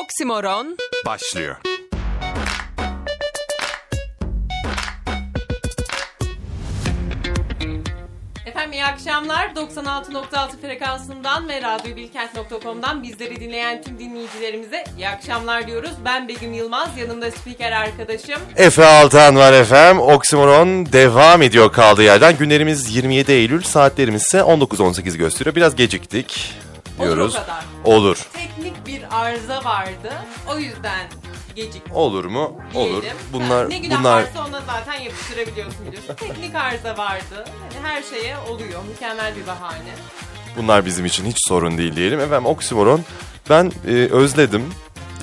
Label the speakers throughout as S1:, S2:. S1: Oksimoron,
S2: başlıyor.
S1: Efendim iyi akşamlar. 96.6 frekansından ve radyobilkent.com'dan bizleri dinleyen tüm dinleyicilerimize iyi akşamlar diyoruz. Ben Begüm Yılmaz, yanımda spiker arkadaşım.
S2: Efe Altan var efem. Oksimoron devam ediyor kaldığı yerden. Günlerimiz 27 Eylül, saatlerimiz ise 19.18 gösteriyor. Biraz geciktik
S1: Olur o
S2: diyoruz.
S1: kadar.
S2: Olur.
S1: Teknik bir arıza vardı. O yüzden gecikti.
S2: Olur mu? Olur.
S1: diyelim.
S2: Bunlar
S1: ne günah
S2: bunlar
S1: varsa ona zaten yapıştırabiliyorsun biliyorsun. Teknik arıza vardı. Yani her şeye oluyor. Mükemmel bir bahane.
S2: bunlar bizim için hiç sorun değil diyelim. Efendim Oksimoron ben e, özledim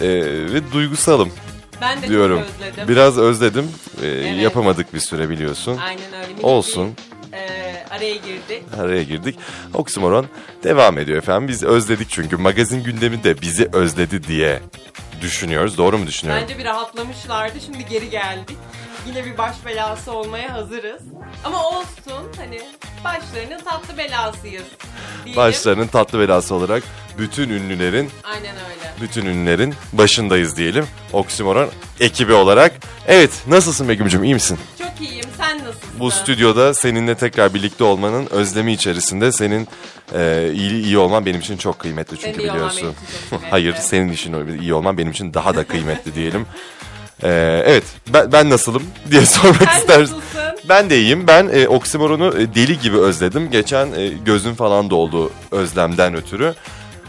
S2: e, ve duygusalım
S1: Ben de
S2: diyorum.
S1: çok özledim.
S2: Biraz özledim. E, Yapamadık bir süre biliyorsun.
S1: Aynen öyle. Minik
S2: Olsun.
S1: bir, e, araya girdik.
S2: araya girdik. Oksimoron devam ediyor efendim. Biz özledik çünkü magazin gündemi de bizi özledi diye düşünüyoruz. Doğru mu düşünüyorum?
S1: Bence bir rahatlamışlardı. Şimdi geri geldik. Yine bir baş belası olmaya hazırız. Ama olsun hani başlarının tatlı belasıyız. diyelim.
S2: Başlarının tatlı belası olarak bütün ünlülerin,
S1: Aynen öyle.
S2: bütün ünlülerin başındayız diyelim. Oksimoron ekibi olarak. Evet, nasılsın Begüm'cüm? iyi misin?
S1: Çok iyiyim. Sen nasılsın?
S2: Bu stüdyoda seninle tekrar birlikte olmanın özlemi içerisinde senin e, iyi iyi olman benim için çok kıymetli çünkü
S1: Senin iyi olman benim
S2: biliyorsun.
S1: için çok kıymetli.
S2: Hayır, senin için iyi olman benim için daha da kıymetli diyelim. E, evet, ben, ben nasılım diye sormak
S1: Sen
S2: istersin.
S1: nasılsın?
S2: Ben de iyiyim. Ben e, oksimoronu e, deli gibi özledim. Geçen e, gözüm falan doldu özlemden ötürü.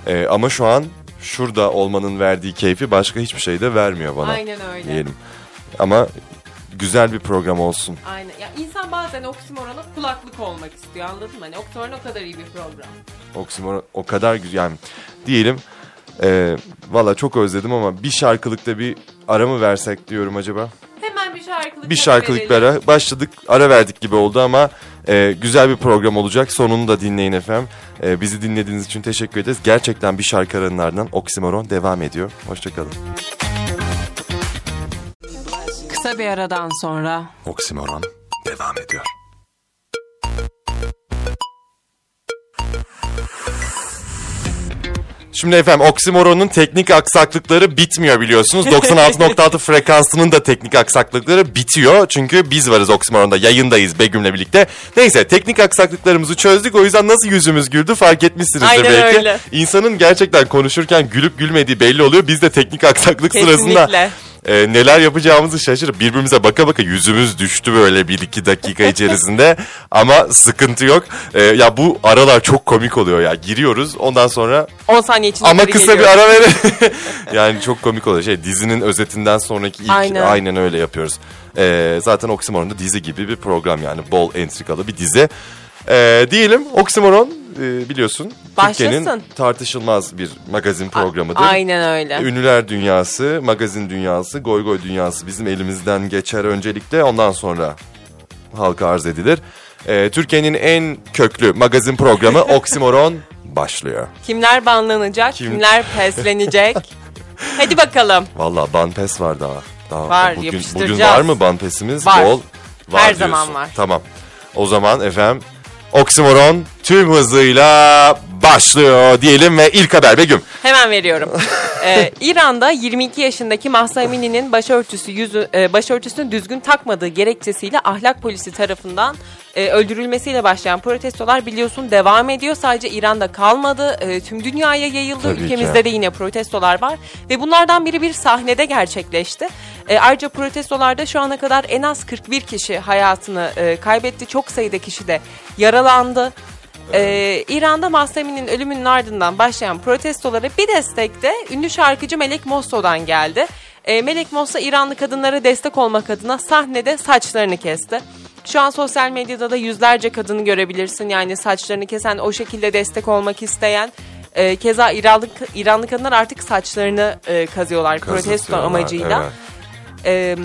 S2: E, ama şu an şurada olmanın verdiği keyfi başka hiçbir şey de vermiyor bana.
S1: Aynen öyle.
S2: Diyelim. Ama güzel bir program olsun.
S1: Aynen. Ya insan bazen oksimorona kulaklık olmak istiyor anladın mı? Hani oksimoron o kadar iyi bir program.
S2: Oksimoron o kadar güzel. Yani diyelim e, valla çok özledim ama bir şarkılıkta bir ara mı versek diyorum acaba?
S1: Hemen bir şarkılık
S2: Bir
S1: ara
S2: şarkılık bir
S1: verelim.
S2: ara. Başladık ara verdik gibi oldu ama e, güzel bir program olacak. Sonunu da dinleyin efendim. E, bizi dinlediğiniz için teşekkür ederiz. Gerçekten bir şarkı aranın ardından Oksimoron devam ediyor. Hoşçakalın.
S1: Kısa bir aradan sonra.
S2: Oksimoron devam ediyor. Şimdi efendim oksimoronun teknik aksaklıkları bitmiyor biliyorsunuz. 96.6 frekansının da teknik aksaklıkları bitiyor. Çünkü biz varız oksimoronda yayındayız Begüm'le birlikte. Neyse teknik aksaklıklarımızı çözdük. O yüzden nasıl yüzümüz güldü fark etmişsinizdir
S1: Aynen
S2: belki.
S1: öyle.
S2: İnsanın gerçekten konuşurken gülüp gülmediği belli oluyor. Biz de teknik aksaklık sırasında
S1: Kesinlikle.
S2: e, neler yapacağımızı şaşırıp birbirimize baka baka yüzümüz düştü böyle bir iki dakika içerisinde ama sıkıntı yok. E, ya bu aralar çok komik oluyor ya giriyoruz ondan sonra
S1: 10 saniye içinde
S2: ama
S1: geri
S2: kısa
S1: geliyorum.
S2: bir ara verin. yani çok komik oluyor şey dizinin özetinden sonraki ilk aynen,
S1: Aynen.
S2: öyle yapıyoruz. E, zaten Oksimoron da dizi gibi bir program yani bol entrikalı bir dizi. E, diyelim Oksimoron e, biliyorsun Türkiye'nin
S3: Başlasın.
S2: tartışılmaz bir magazin programıdır.
S3: Aynen öyle.
S2: Ee, Ünlüler dünyası, magazin dünyası, goy goy dünyası bizim elimizden geçer öncelikle ondan sonra halka arz edilir. Ee, Türkiye'nin en köklü magazin programı Oksimoron başlıyor.
S3: Kimler banlanacak,
S2: Kim-
S3: kimler peslenecek? Hadi bakalım.
S2: Valla banpes var daha. daha
S3: Var,
S2: bugün,
S3: yapıştıracağız.
S2: bugün var mı banpesimiz?
S3: Var.
S2: Bol. Var
S3: Her zaman
S2: diyorsun.
S3: var.
S2: Tamam. O zaman efendim Oksimoron tüm hızıyla başlıyor diyelim ve ilk haber Begüm.
S3: Hemen veriyorum. Ee, İran'da 22 yaşındaki Mahsa Amini'nin başörtüsü yüzü, e, başörtüsünü düzgün takmadığı gerekçesiyle ahlak polisi tarafından e, öldürülmesiyle başlayan protestolar biliyorsun devam ediyor. Sadece İran'da kalmadı. e, tüm dünyaya yayıldı.
S2: Tabii ki.
S3: Ülkemizde de yine protestolar var. Ve bunlardan biri bir sahnede gerçekleşti. E, ayrıca protestolarda şu ana kadar en az 41 kişi hayatını e, kaybetti. Çok sayıda kişi de yaralandı. Ee, İran'da Mahsemi'nin ölümünün ardından başlayan protestolara bir destek de ünlü şarkıcı Melek Mosso'dan geldi. Ee, Melek Mosso İranlı kadınlara destek olmak adına sahnede saçlarını kesti. Şu an sosyal medyada da yüzlerce kadını görebilirsin. Yani saçlarını kesen, o şekilde destek olmak isteyen. Ee, keza İranlı, İranlı kadınlar artık saçlarını e, kazıyorlar protesto
S2: Kazıtıyorlar,
S3: amacıyla.
S2: evet.
S3: Ee,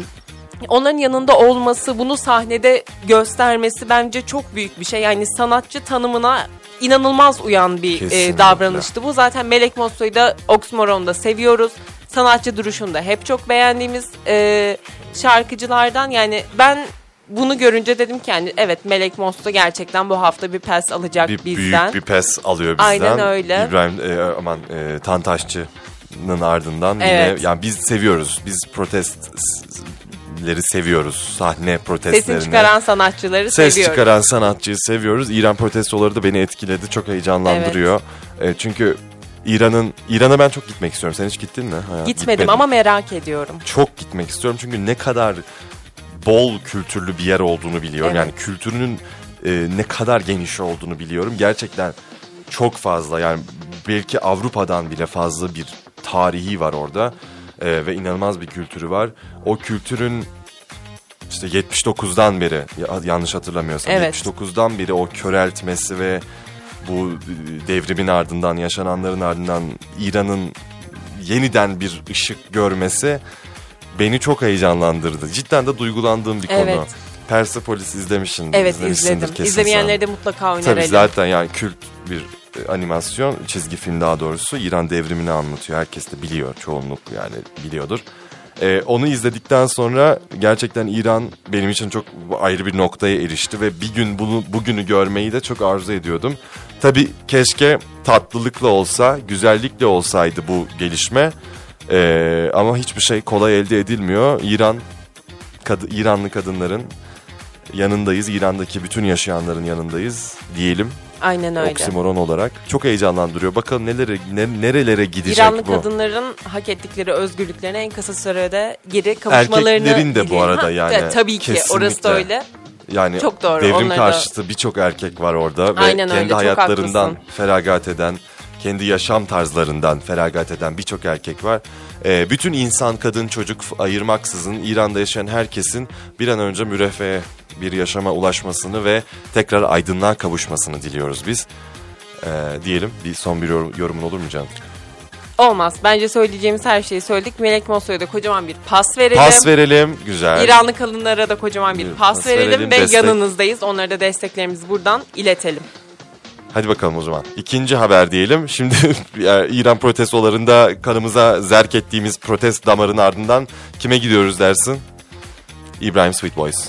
S3: onların yanında olması, bunu sahnede göstermesi bence çok büyük bir şey. Yani sanatçı tanımına inanılmaz uyan bir
S2: Kesinlikle.
S3: e, davranıştı bu. Zaten Melek Mosso'yu da Oxmoron'da seviyoruz. Sanatçı duruşunda hep çok beğendiğimiz e, şarkıcılardan. Yani ben bunu görünce dedim ki yani evet Melek Mosso gerçekten bu hafta bir pes alacak
S2: bir
S3: bizden.
S2: büyük bir pes alıyor bizden.
S3: Aynen öyle.
S2: İbrahim e, aman e, Tantaşçı ardından
S3: Evet.
S2: yine yani biz seviyoruz. Biz protestleri seviyoruz. Sahne protestlerini.
S3: Sesini çıkaran sanatçıları
S2: Ses
S3: seviyorum.
S2: çıkaran sanatçıyı seviyoruz. İran protestoları da beni etkiledi. Çok heyecanlandırıyor. E, çünkü İran'ın İran'a ben çok gitmek istiyorum. Sen hiç gittin mi? Hayat,
S3: Gitmedim ama merak ediyorum.
S2: çok gitmek istiyorum. Çünkü ne kadar bol kültürlü bir yer olduğunu biliyorum.
S3: Evet.
S2: Yani kültürünün e, ne kadar geniş olduğunu biliyorum. Gerçekten çok fazla yani belki Avrupa'dan bile fazla bir tarihi var orada. E, ve inanılmaz bir kültürü var. O kültürün işte 79'dan beri ya- yanlış hatırlamıyorsam
S3: Evet.
S2: 79'dan beri o köreltmesi ve bu e, devrimin ardından yaşananların ardından İran'ın yeniden bir ışık görmesi beni çok heyecanlandırdı. Cidden de duygulandığım bir
S3: Evet.
S2: konu. Persepolis izlemişsin.
S3: Evet
S2: izlemişsindir
S3: izledim.
S2: kesin
S3: İzlemeyenleri de mutlaka
S2: sen. Tabii
S3: önerelim.
S2: zaten yani kült bir e, animasyon, çizgi film daha doğrusu. İran devrimini anlatıyor. Herkes de biliyor. Çoğunluk yani biliyordur. E, onu izledikten sonra gerçekten İran benim için çok ayrı bir noktaya erişti ve bir gün bunu bugünü görmeyi de çok arzu ediyordum. Tabii keşke tatlılıkla olsa, güzellikle olsaydı bu gelişme. E, ama hiçbir şey kolay elde edilmiyor. İran kad- İranlı kadınların yanındayız. İran'daki bütün yaşayanların yanındayız diyelim
S3: Aynen öyle.
S2: oksimoron olarak. Çok heyecanlandırıyor. Bakalım nelere ne- nerelere gidecek
S3: İranlı
S2: bu.
S3: kadınların hak ettikleri özgürlüklerine en kısa sürede geri kavuşmalarını
S2: Erkeklerin de bu
S3: diliyorum.
S2: arada
S3: Ha,
S2: yani.
S3: Tabii ki orası da
S2: Kesinlikle.
S3: öyle.
S2: Yani
S3: Çok doğru,
S2: devrim
S3: onları da-
S2: karşıtı birçok erkek var orada ve
S3: Aynen
S2: kendi
S3: öyle, çok
S2: hayatlarından
S3: haklısın.
S2: feragat eden, kendi yaşam tarzlarından feragat eden birçok erkek var. Ee, bütün insan, kadın, çocuk f- ayırmaksızın İran'da yaşayan herkesin bir an önce müreffeh bir yaşama ulaşmasını ve tekrar aydınlığa kavuşmasını diliyoruz biz. Ee, diyelim bir son bir yor- yorumun olur mu Can?
S3: Olmaz. Bence söyleyeceğimiz her şeyi söyledik. Melek Moso'ya da kocaman bir pas verelim.
S2: Pas verelim. Güzel.
S3: İranlı kadınlara da kocaman bir
S2: Bir
S3: pas,
S2: pas
S3: verelim,
S2: verelim,
S3: ve
S2: destek.
S3: yanınızdayız. Onlara da desteklerimizi buradan iletelim.
S2: Hadi bakalım o zaman. İkinci haber diyelim. Şimdi e, İran protestolarında kanımıza zerk ettiğimiz protest damarın ardından kime gidiyoruz dersin? İbrahim Sweet Boys.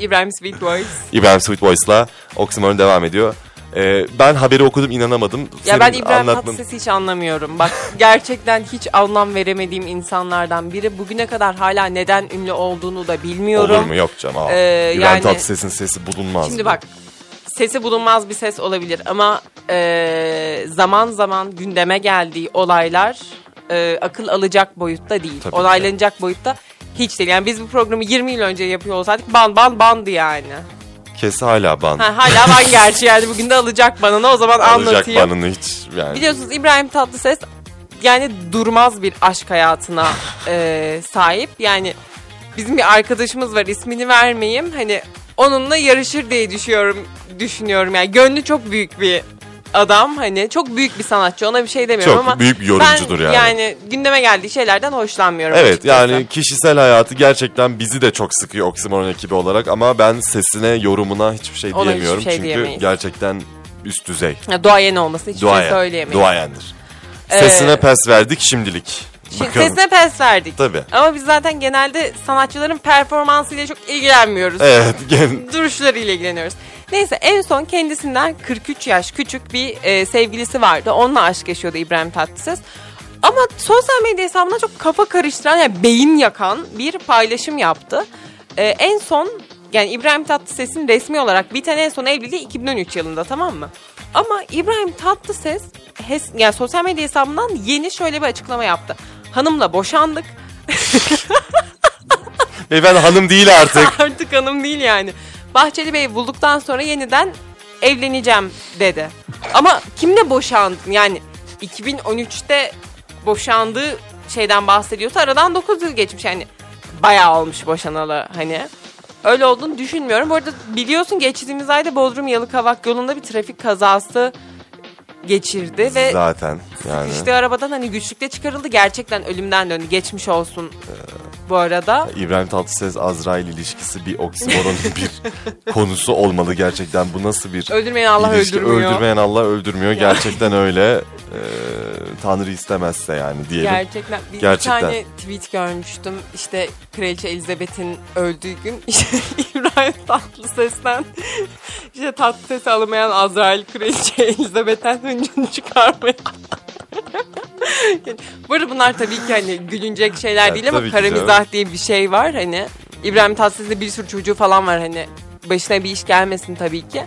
S3: İbrahim Sweet Voice.
S2: İbrahim Sweet Boys'la Oxymoron devam ediyor. E, ben haberi okudum inanamadım.
S3: Ya ben
S2: Senin
S3: İbrahim
S2: anlatman-
S3: Tatlıses'i hiç anlamıyorum. Bak gerçekten hiç anlam veremediğim insanlardan biri. Bugüne kadar hala neden ünlü olduğunu da bilmiyorum.
S2: Olur mu? Yok canım. Aa,
S3: Ee,
S2: İbrahim
S3: yani-
S2: Tatlıses'in sesi bulunmaz.
S3: Şimdi
S2: mı?
S3: bak sesi bulunmaz bir ses olabilir ama e, zaman zaman gündeme geldiği olaylar e, akıl alacak boyutta değil.
S2: Tabii ki.
S3: Onaylanacak boyutta hiç değil. Yani biz bu programı 20 yıl önce yapıyor olsaydık ban ban bandı yani.
S2: Kesi hala ban.
S3: Ha, hala ban gerçi yani bugün de alacak banını o zaman
S2: Alacak
S3: anlatayım.
S2: banını hiç. Yani.
S3: Biliyorsunuz İbrahim Tatlıses yani durmaz bir aşk hayatına e, sahip. Yani bizim bir arkadaşımız var ismini vermeyeyim. Hani onunla yarışır diye düşünüyorum. Düşünüyorum yani gönlü çok büyük bir adam hani çok büyük bir sanatçı ona bir şey demiyorum
S2: Çok
S3: ama
S2: büyük bir yorumcudur
S3: ben
S2: yani.
S3: yani gündeme geldiği şeylerden hoşlanmıyorum
S2: Evet
S3: açıkçası.
S2: yani kişisel hayatı gerçekten bizi de çok sıkıyor Oksimoron ekibi olarak ama ben sesine yorumuna hiçbir şey
S3: Ona hiçbir
S2: diyemiyorum
S3: şey
S2: çünkü
S3: diyemeyiz.
S2: gerçekten üst düzey.
S3: Ya duayen olması hiçbir şey
S2: Duayen.
S3: söyleyemeyiz.
S2: Duayendir.
S3: Ee,
S2: Sesine pes verdik şimdilik.
S3: Şimdi
S2: Bakalım.
S3: sesine pes verdik.
S2: Tabii.
S3: Ama biz zaten genelde sanatçıların performansıyla çok ilgilenmiyoruz.
S2: Evet. gel-
S3: duruşlarıyla ilgileniyoruz. Neyse en son kendisinden 43 yaş küçük bir e, sevgilisi vardı. Onunla aşk yaşıyordu İbrahim Tatlıses. Ama sosyal medya hesabına çok kafa karıştıran yani beyin yakan bir paylaşım yaptı. E, en son yani İbrahim Tatlıses'in resmi olarak biten en son evliliği 2013 yılında tamam mı? Ama İbrahim Tatlıses hes, yani sosyal medya hesabından yeni şöyle bir açıklama yaptı. Hanımla boşandık.
S2: Ve ben hanım değil artık.
S3: Artık hanım değil yani. Bahçeli Bey'i bulduktan sonra yeniden evleneceğim dedi. Ama kimle boşandın? Yani 2013'te boşandığı şeyden bahsediyorsa aradan 9 yıl geçmiş. Yani bayağı olmuş boşanalı hani. Öyle olduğunu düşünmüyorum. Bu arada biliyorsun geçtiğimiz ayda Bodrum Yalıkavak yolunda bir trafik kazası geçirdi ve
S2: Zaten yani.
S3: işte arabadan hani güçlükle çıkarıldı. Gerçekten ölümden döndü. Geçmiş olsun bu arada.
S2: İbrahim Tatlıses Azrail ilişkisi bir oksimoron bir konusu olmalı gerçekten. Bu nasıl bir
S3: Öldürmeyen Allah
S2: ilişki?
S3: öldürmüyor.
S2: Öldürmeyen Allah öldürmüyor. Gerçekten öyle. Ee, Tanrı istemezse yani diyelim.
S3: Gerçekten bir
S2: Gerçekten.
S3: tane tweet görmüştüm. İşte Kraliçe Elizabeth'in öldüğü gün işte İbrahim Tatlıses'ten işte Tatlıses alamayan Azrail Kraliçe Elizabeth'ten hıncını çıkarmaya. Yani Bu arada bunlar tabii ki hani gülünecek şeyler
S2: Ya
S3: değil ama
S2: tabii ki
S3: kara
S2: canım.
S3: mizah diye bir şey var hani. İbrahim Tatlıses'te bir sürü çocuğu falan var hani. Başına bir iş gelmesin tabii ki.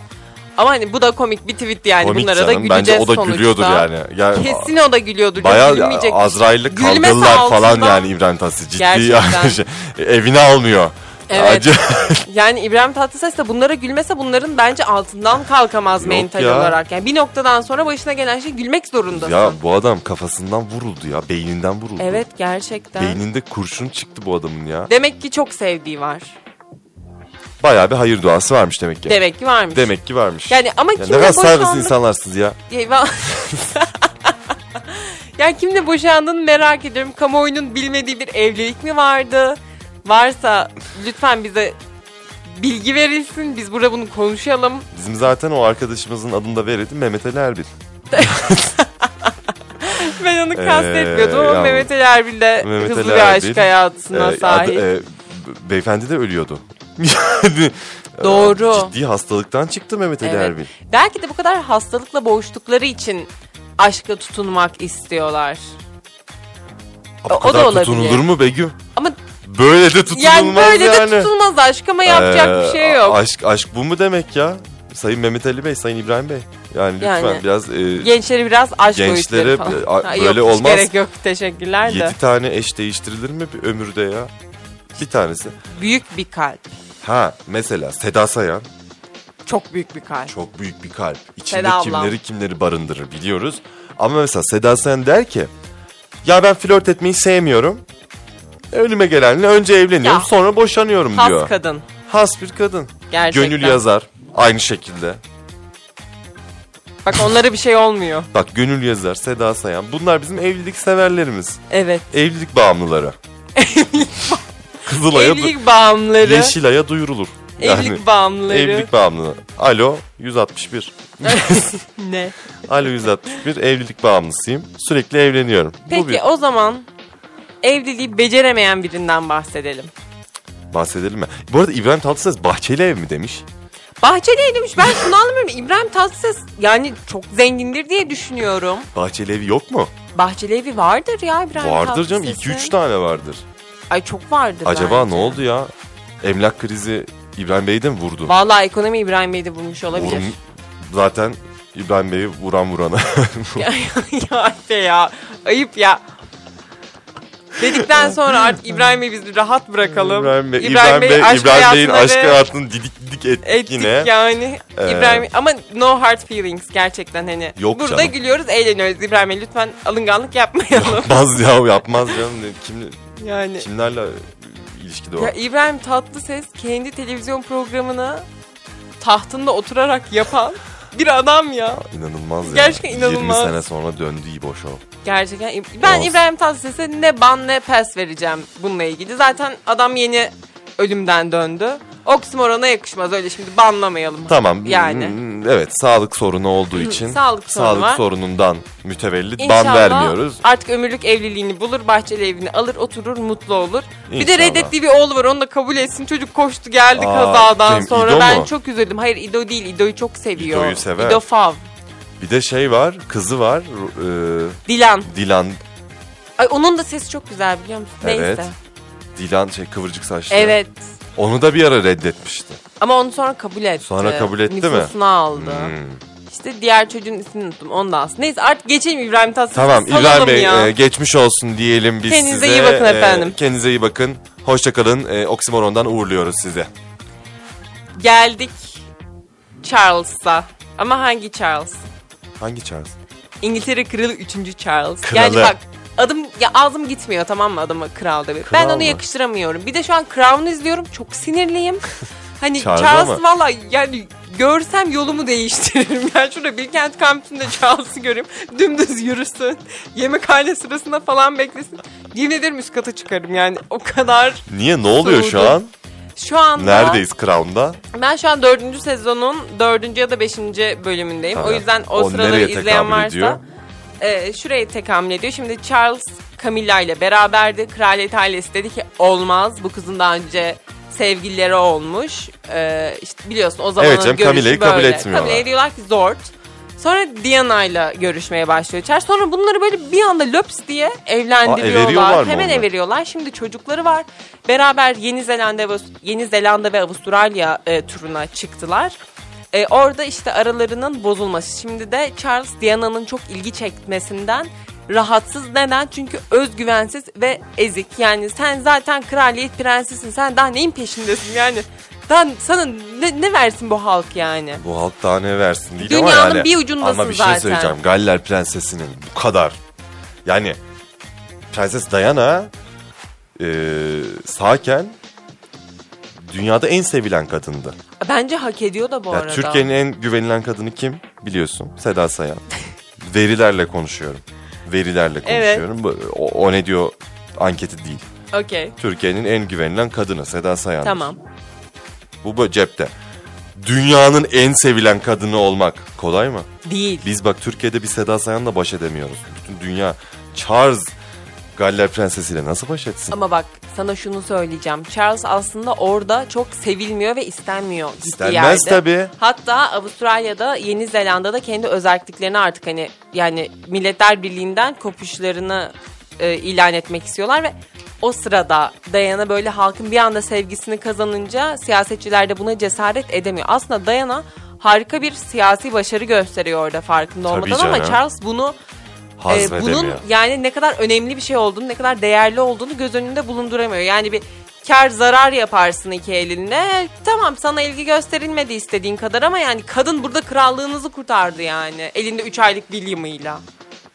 S3: Ama hani bu da komik bir tweet yani
S2: Komik
S3: hani bunlara da
S2: canım.
S3: güleceğiz
S2: Bence o da
S3: sonuçta.
S2: gülüyordur yani. yani
S3: Kesin o da gülüyordur.
S2: Bayağı
S3: Gülmeyecek.
S2: Azrail'le
S3: Gülmese
S2: kavgalılar falan
S3: altından-
S2: yani İbrahim Tatlıses. Ciddi
S3: Gerçekten.
S2: yani şey, evine almıyor.
S3: Evet.
S2: Acı-
S3: Yani İbrahim Tatlıses de bunlara gülmese bunların bence altından kalkamaz
S2: Yok
S3: mental
S2: ya.
S3: olarak. Yani bir noktadan sonra başına gelen şey gülmek zorundasın.
S2: ya bu adam kafasından vuruldu ya. Beyninden vuruldu.
S3: evet gerçekten.
S2: Beyninde kurşun çıktı bu adamın ya.
S3: Demek ki çok sevdiği var.
S2: Bayağı bir hayır duası varmış demek ki.
S3: Demek ki varmış.
S2: Demek ki varmış.
S3: Yani ama
S2: Ya ne
S3: kimle
S2: kadar saygısız
S3: boşandın?
S2: insanlarsınız ya.
S3: Eyvah. ya kimle boşandın merak ediyorum. Kamuoyunun bilmediği bir evlilik mi vardı? Varsa lütfen bize bilgi verilsin. Biz burada bunu konuşalım.
S2: Bizim zaten o arkadaşımızın adını da verelim Mehmet Ali Erbil.
S3: Ben onu
S2: Ee,
S3: kastetmiyordum ama
S2: yalnız-
S3: Mehmet Ali Erbil de
S2: Mehmet
S3: hızlı
S2: Ali
S3: bir
S2: Erbil,
S3: aşk hayatına
S2: Ee,
S3: sahip.
S2: adı- e, be- beyefendi de ölüyordu. Yani, e,
S3: Doğru.
S2: Ciddi hastalıktan çıktı Mehmet Ali
S3: Evet.
S2: Erbil.
S3: Belki de bu kadar hastalıkla boğuştukları için aşka tutunmak istiyorlar.
S2: O,
S3: O da
S2: kadar
S3: olabilir.
S2: tutunulur mu Begüm?
S3: Ama
S2: Böyle de tutunulmaz yani.
S3: yani böyle de tutulmaz aşk ama yapacak
S2: Ee,
S3: bir şey yok.
S2: a- Aşk, aşk bu mu demek ya? Sayın Mehmet Ali Bey, Sayın İbrahim Bey. Yani lütfen
S3: Yani.
S2: biraz e,
S3: Gençleri biraz aşk
S2: gençlere
S3: boyutları
S2: bi-
S3: falan.
S2: a-
S3: Ha,
S2: böyle
S3: yok, hiç
S2: olmaz.
S3: gerek yok teşekkürler de.
S2: yedi tane eş değiştirilir mi bir ömürde ya? Bir tanesi.
S3: Büyük bir kalp.
S2: Ha mesela Seda Sayan
S3: Çok büyük bir kalp.
S2: çok büyük bir kalp. İçinde
S3: Seda ablam.
S2: kimleri kimleri barındırır biliyoruz. Ama mesela Seda Sayan der ki ya ben flört etmeyi sevmiyorum. Önüme gelenle önce evleniyorum
S3: Ya.
S2: sonra boşanıyorum
S3: Has
S2: diyor.
S3: kadın.
S2: Has bir kadın.
S3: Gerçekten.
S2: Gönül yazar aynı şekilde.
S3: Bak onlara bir şey olmuyor.
S2: Bak Gönül yazar, Seda Sayan bunlar bizim evlilik severlerimiz.
S3: Evet.
S2: Evlilik bağımlıları. Kızılay'a du-
S3: Evlilik bağımları.
S2: Yeşilay'a duyurulur.
S3: Evlilik bağımları.
S2: evlilik bağımlılığı. Alo 161.
S3: Ne?
S2: Alo 161 evlilik bağımlısıyım. Sürekli evleniyorum. Bu bir
S3: Peki o zaman evliliği beceremeyen birinden bahsedelim.
S2: bahsedelim mi? Bu arada İbrahim Tatlıses bahçeli ev mi demiş?
S3: Bahçeli evliymiş ben şunu anlamıyorum. İbrahim Tatlıses yani çok zengindir diye düşünüyorum.
S2: Bahçeli evi yok mu?
S3: Bahçeli evi vardır ya İbrahim
S2: vardır canım
S3: Tatlıses'in.
S2: 2-3 tane vardır.
S3: Ay çok vardır
S2: Acaba
S3: bence.
S2: ne oldu ya? Emlak krizi İbrahim Bey'i de mi vurdu?
S3: Vallahi ekonomi İbrahim Bey de bulmuş olabilir.
S2: Vurum- Zaten İbrahim Bey'i vuran vurana.
S3: ya işte ya ayıp ya. Dedikten sonra artık İbrahim Bey bizi rahat bırakalım.
S2: İbrahim Bey, İbrahim, Bey,
S3: aşk
S2: İbrahim Bey'in
S3: hayatına
S2: aşk
S3: ve-
S2: hayatını didik didik ettik,
S3: ettik
S2: yine.
S3: yani.
S2: Ee,
S3: İbrahim ama no hard feelings gerçekten hani.
S2: Yok
S3: Burada
S2: canım.
S3: gülüyoruz, eğleniyoruz. İbrahim Bey lütfen alınganlık yapmayalım.
S2: Yapmaz ya o yapmaz canım. Ne- Kim,
S3: yani.
S2: kimlerle ilişkide o?
S3: Ya İbrahim Tatlıses kendi televizyon programını tahtında oturarak yapan bir adam ya.
S2: İnanılmaz ya.
S3: Gerçekten inanılmaz.
S2: 20 sene sonra döndü İbo Show.
S3: Gerçekten İb- ben
S2: Olsun.
S3: İbrahim Tatlıses'e ne ban ne pes vereceğim bununla ilgili. Zaten adam yeni ölümden döndü. Oksimoron'a yakışmaz öyle şimdi banlamayalım.
S2: Tamam.
S3: Yani. Hmm,
S2: Hmm, Evet sağlık sorunu olduğu için.
S3: sağlık sorunu
S2: sağlık
S3: var.
S2: sorunundan mütevellit
S3: İnşallah
S2: ban vermiyoruz.
S3: artık ömürlük evliliğini bulur, bahçeli evini alır, oturur, mutlu olur. Bir de
S2: İnşallah.
S3: reddettiği bir oğlu var, onu da kabul etsin. Çocuk koştu geldi
S2: Aa,
S3: kazadan
S2: kim,
S3: sonra.
S2: İdo
S3: ben
S2: mu?
S3: çok üzüldüm. Hayır İdo değil, İdo'yu çok seviyor.
S2: İdo'yu sever.
S3: İdo fav.
S2: Bir de şey var kızı var Ru-
S3: Dilan.
S2: e, Dilan.
S3: Ay onun da sesi çok güzel biliyor musun?
S2: Evet.
S3: Neyse.
S2: Dilan şey kıvırcık saçlı.
S3: Evet.
S2: Onu da bir ara reddetmişti.
S3: Ama onu sonra kabul etti.
S2: Sonra kabul etti mi?
S3: Nüfusuna aldı.
S2: Hmm.
S3: İşte diğer çocuğun ismini unuttum. Onu da alsın. Neyse artık geçelim İbrahim Tatlıses'e.
S2: Tamam
S3: Salalım
S2: İbrahim Bey
S3: ya.
S2: e, geçmiş olsun diyelim biz
S3: Kendinize
S2: size. E,
S3: iyi bakın efendim.
S2: Kendinize iyi bakın. Hoşçakalın. E, Oksimoron'dan uğurluyoruz sizi.
S3: Geldik Charles'a. Ama hangi Charles?
S2: Hangi Charles?
S3: İngiltere Kralı 3. Charles.
S2: Kralı.
S3: Yani bak adım ya ağzım gitmiyor tamam mı adama kral demeye. Ben
S2: Kral
S3: onu
S2: mı?
S3: yakıştıramıyorum. Bir de şu an Crown'u izliyorum. Çok sinirliyim. Hani
S2: Charles
S3: Charles
S2: ama.
S3: valla yani görsem yolumu değiştiririm. Yani şurada Bilkent kampüsünde Charles'ı göreyim. Dümdüz yürüsün. Yemekhane sırasında falan beklesin. Yemin ederim üst kata çıkarım yani. O kadar
S2: Niye ne oluyor şu
S3: Soğudu.
S2: an?
S3: şu anda...
S2: Neredeyiz Crown'da?
S3: Ben şu an dördüncü sezonun dördüncü ya da beşinci bölümündeki bölümündeyim.
S2: Tabii.
S3: O yüzden o
S2: O
S3: sıraları
S2: nereye tekabül
S3: izleyen varsa
S2: ediyor?
S3: e, şuraya tekamül ediyor. Şimdi Charles Camilla ile beraberdi. Kraliyet ailesi dedi ki olmaz bu kızın daha önce sevgilileri olmuş. E, işte biliyorsun o zamanın
S2: Evet canım,
S3: görüşü
S2: Camilla'yı
S3: böyle.
S2: kabul etmiyorlar.
S3: Camilla'ya diyorlar ki zort. Sonra Diana ile görüşmeye başlıyor Charles. Sonra bunları böyle bir anda löps diye
S2: everiyorlar
S3: evlendiriyorlar.
S2: mı
S3: Hemen
S2: onları?
S3: everiyorlar. Şimdi çocukları var. Beraber Yeni Zelanda ve Yeni Zelanda ve Avustralya e, turuna çıktılar. E, orada işte aralarının bozulması. Şimdi de Charles Diana'nın çok ilgi çekmesinden rahatsız. Neden? Çünkü özgüvensiz ve ezik. Yani sen zaten kraliyet prensesisin. Sen daha neyin peşindesin yani? Daha sana ne, ne versin bu halk yani?
S2: Bu halk daha ne versin değil ama
S3: Dünyanın
S2: yani.
S3: bir ucundasın
S2: Ama bir şey
S3: zaten.
S2: söyleyeceğim. Galler prensesinin bu kadar. Yani Prenses Diana e, sağken dünyada en sevilen kadındı.
S3: Bence hak ediyor da bu
S2: Ya
S3: arada.
S2: Türkiye'nin en güvenilen kadını kim biliyorsun? Seda Sayan. Verilerle konuşuyorum. Verilerle
S3: Evet.
S2: konuşuyorum. Bu- O, o ne diyor anketi değil.
S3: Okey.
S2: Türkiye'nin en güvenilen kadını Seda Sayan.
S3: Tamam.
S2: Bu böyle cepte. Dünyanın en sevilen kadını olmak kolay mı?
S3: Değil.
S2: Biz bak Türkiye'de bir Seda Sayan'la baş edemiyoruz. Bütün dünya Charles Galler Prensesi'yle nasıl baş etsin?
S3: Ama bak sana şunu söyleyeceğim. Charles aslında orada çok sevilmiyor ve istenmiyor. gittiği
S2: İstenmez
S3: yerde.
S2: tabii.
S3: Hatta Avustralya'da, Yeni Zelanda'da kendi özelliklerini artık hani yani Milletler Birliği'nden kopuşlarını e, ilan etmek istiyorlar ve o sırada Dayana böyle halkın bir anda sevgisini kazanınca siyasetçiler de buna cesaret edemiyor. Aslında Dayana harika bir siyasi başarı gösteriyor orada farkında
S2: Tabii
S3: olmadan ama
S2: canım.
S3: Charles bunu e,
S2: Hazmedemiyor.
S3: bunun yani ne kadar önemli bir şey olduğunu, ne kadar değerli olduğunu göz önünde bulunduramıyor. Yani bir kar zarar yaparsın iki elinle. Tamam sana ilgi gösterilmedi istediğin kadar ama yani kadın burada krallığınızı kurtardı yani. Elinde 3 aylık William'ıyla.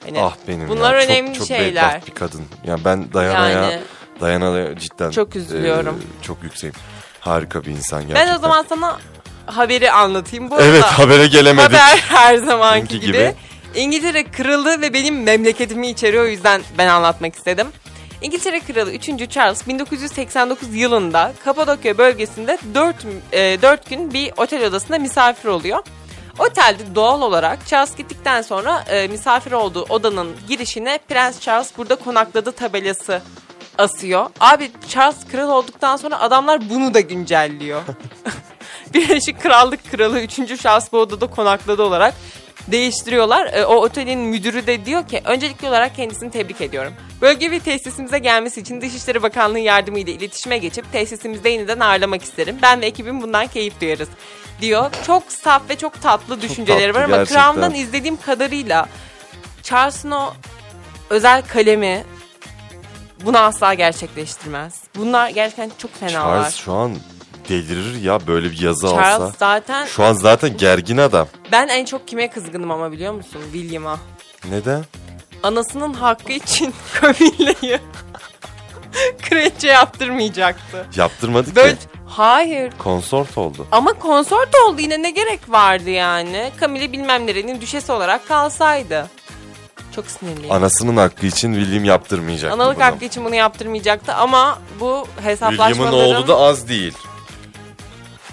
S3: Hani
S2: Ah benim
S3: Bunlar
S2: ya.
S3: önemli
S2: çok, çok
S3: şeyler.
S2: bedbaht bir kadın. Yani ben Dayana'ya
S3: Yani.
S2: Dayana'ya cidden
S3: Çok üzülüyorum.
S2: e, çok yükseğim. Harika bir insan gerçekten.
S3: Ben o zaman sana haberi anlatayım. Bu
S2: Evet
S3: arada
S2: habere gelemedik.
S3: haber her zamanki
S2: Çünkü
S3: gibi.
S2: gibi.
S3: İngiltere kralı ve benim memleketimi içeriyor o yüzden ben anlatmak istedim. İngiltere Kralı 3. Charles 1989 yılında Kapadokya bölgesinde 4, 4 gün bir otel odasında misafir oluyor. Otelde doğal olarak Charles gittikten sonra e, misafir olduğu odanın girişine Prens Charles burada konakladı tabelası asıyor. Abi Charles kral olduktan sonra adamlar bunu da güncelliyor. Birleşik Krallık Kralı 3. Charles bu odada konakladı olarak değiştiriyorlar. E, O otelin müdürü de diyor ki öncelikli olarak kendisini tebrik ediyorum. Bölge ve tesisimize gelmesi için Dışişleri Bakanlığı yardımıyla iletişime geçip tesisimizde yeniden ağırlamak isterim. Ben ve ekibim bundan keyif duyarız diyor. Çok saf ve çok tatlı düşünceleri
S2: tatlı
S3: var ama
S2: gerçekten.
S3: Crown'dan izlediğim kadarıyla Charles'ın o özel kalemi bunu asla gerçekleştirmez. Bunlar gerçekten çok fenalar.
S2: Charles
S3: Charles,
S2: şu an delirir ya böyle bir yazı alsa.
S3: zaten
S2: Şu an zaten gergin adam.
S3: ben en çok kime kızgınım ama biliyor musun? William'a.
S2: Neden?
S3: Anasının hakkı için Camilla'yı kraliçe yaptırmayacaktı.
S2: Yaptırmadı
S3: Böyle
S2: ki.
S3: hayır
S2: Konsort oldu.
S3: ama konsort oldu yine ne gerek vardı yani. Camille bilmem nerenin düşesi olarak kalsaydı. Çok sinirliyim.
S2: Anasının hakkı için William yaptırmayacak.
S3: Analık hakkı için bunu yaptırmayacaktı ama bu hesaplaşmaların...
S2: William'ın oğlu da az değil.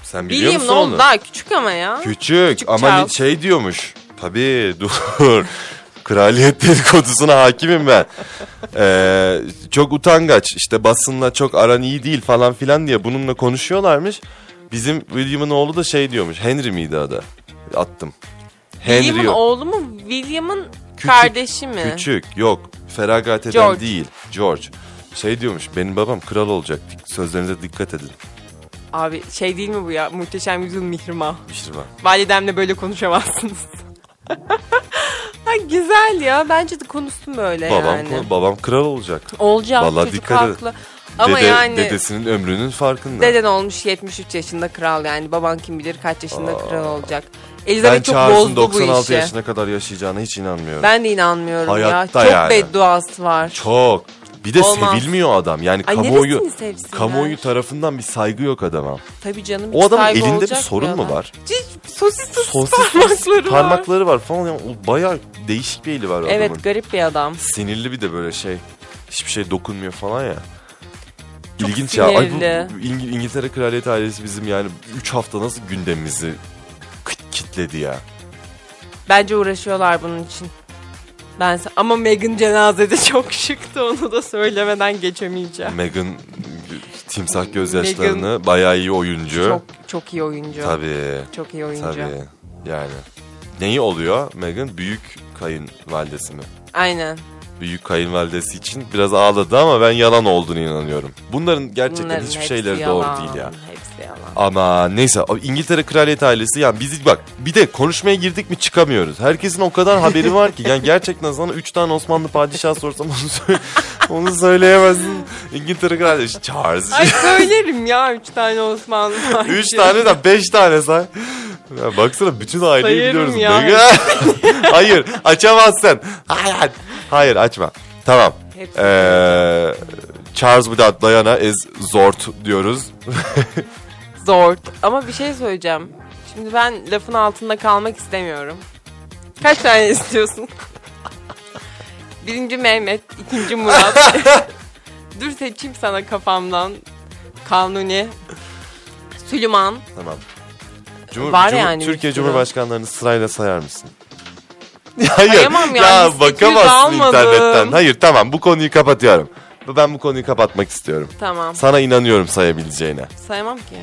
S2: Sen biliyor
S3: William ne
S2: musun
S3: oldu?
S2: onu?
S3: Daha küçük ama ya.
S2: Küçük,
S3: Küçük
S2: ama
S3: Charles.
S2: şey diyormuş. Tabii dur. Kraliyet dedikodusuna hakimim ben. Ee, çok utangaç işte basınla çok aran iyi değil falan filan diye bununla konuşuyorlarmış. Bizim William'ın oğlu da şey diyormuş. Henry miydi adı? Attım. Henry
S3: William'ın
S2: yok.
S3: oğlu mu? William'ın
S2: Küçük,
S3: kardeşi mi?
S2: Küçük yok feragat eden
S3: George.
S2: değil George. Şey diyormuş benim babam kral olacak Dik- sözlerinize dikkat edin.
S3: Abi şey değil mi bu ya? Muhteşem Yüzyıl Mihrimah.
S2: Mihrimah.
S3: Validemle böyle konuşamazsınız. ha, güzel ya. Bence de konuştum böyle
S2: Babam,
S3: yani.
S2: babam kral olacak.
S3: Olacak.
S2: Vallahi
S3: çocuk
S2: dikkat edin.
S3: haklı. Ama
S2: Dede-
S3: yani
S2: Dedesinin ömrünün farkında.
S3: deden olmuş 73 yaşında kral yani. Baban kim bilir kaç yaşında kral olacak.
S2: ben
S3: Elizabeth hani çok
S2: Charles'ın
S3: bozdu bu
S2: 96
S3: işi.
S2: yaşına kadar yaşayacağına hiç inanmıyorum.
S3: Ben de inanmıyorum
S2: Hayatta
S3: ya. Çok
S2: yani.
S3: bedduası var.
S2: Çok. Bir de
S3: Olmaz.
S2: sevilmiyor adam. Yani
S3: Ay
S2: kamuoyu
S3: neresini sevsinler?
S2: kamuoyu tarafından bir saygı yok adama.
S3: Tabii canım.
S2: O
S3: hiç
S2: adamın
S3: saygı
S2: elinde bir
S3: olacak
S2: sorun mu
S3: adam?
S2: var?
S3: Cid- Sosis sosis
S2: Sosis
S3: parmakları var.
S2: Parmakları var falan. Yani o bayağı değişik bir eli var adamın.
S3: Evet garip bir adam.
S2: Sinirli bir de böyle şey. Hiçbir şey dokunmuyor falan ya.
S3: Çok
S2: İlginç ya. Ay bu-
S3: sinirli.
S2: bu İng- İngiltere Kraliyet ailesi bizim yani 3 hafta nasıl gündemimizi kit- kitledi ya.
S3: Bence uğraşıyorlar bunun için. Ben sa- ama Meghan cenazede çok şıktı onu da söylemeden geçemeyeceğim.
S2: Meghan timsah gözyaşlarını bayağı iyi oyuncu.
S3: Çok çok iyi oyuncu.
S2: Tabii.
S3: Çok iyi oyuncu.
S2: Tabii. Yani. Neyi oluyor Meghan? Büyük kayınvalidesi mi?
S3: Aynen.
S2: Büyük kayınvalidesi için biraz ağladı ama ben yalan olduğunu inanıyorum. Bunların gerçekten
S3: Bunların
S2: hiçbir
S3: hepsi
S2: şeyleri
S3: yalan,
S2: doğru değil ya.
S3: Hepsi yalan.
S2: Ama neyse o İngiltere kraliyet ailesi yani biz bak bir de konuşmaya girdik mi çıkamıyoruz. Herkesin o kadar haberi var ki yani gerçekten sana 3 tane Osmanlı padişah sorsam onu, söyle, onu söyleyemezsin. İngiltere kraliyeti Charles.
S3: Ay söylerim ya üç tane Osmanlı var.
S2: 3 tane de 5 tane say. Ya baksana bütün aileyi
S3: Sayarım
S2: biliyoruz.
S3: ya.
S2: Mega- Hayır açamazsın. Hayır. Hayır açma. Tamam.
S3: Hepsi.
S2: Ee, Charles without Diana is zort diyoruz.
S3: Zor. Ama bir şey söyleyeceğim. Şimdi ben lafın altında kalmak istemiyorum. Kaç tane istiyorsun? Birinci Mehmet, ikinci Murat. Dur seçeyim sana kafamdan. Kanuni. Süleyman.
S2: Tamam. Cumhur,
S3: Var
S2: Cumhur-
S3: yani bir
S2: Türkiye
S3: sürü.
S2: Cumhurbaşkanlarını sırayla sayar mısın? Hayır.
S3: Sayamam yani,
S2: Ya
S3: listesini
S2: bakamazsın
S3: de almadım.
S2: internetten. Hayır tamam bu konuyu kapatıyorum. Ben bu konuyu kapatmak istiyorum.
S3: Tamam.
S2: Sana inanıyorum sayabileceğine.
S3: Sayamam ki.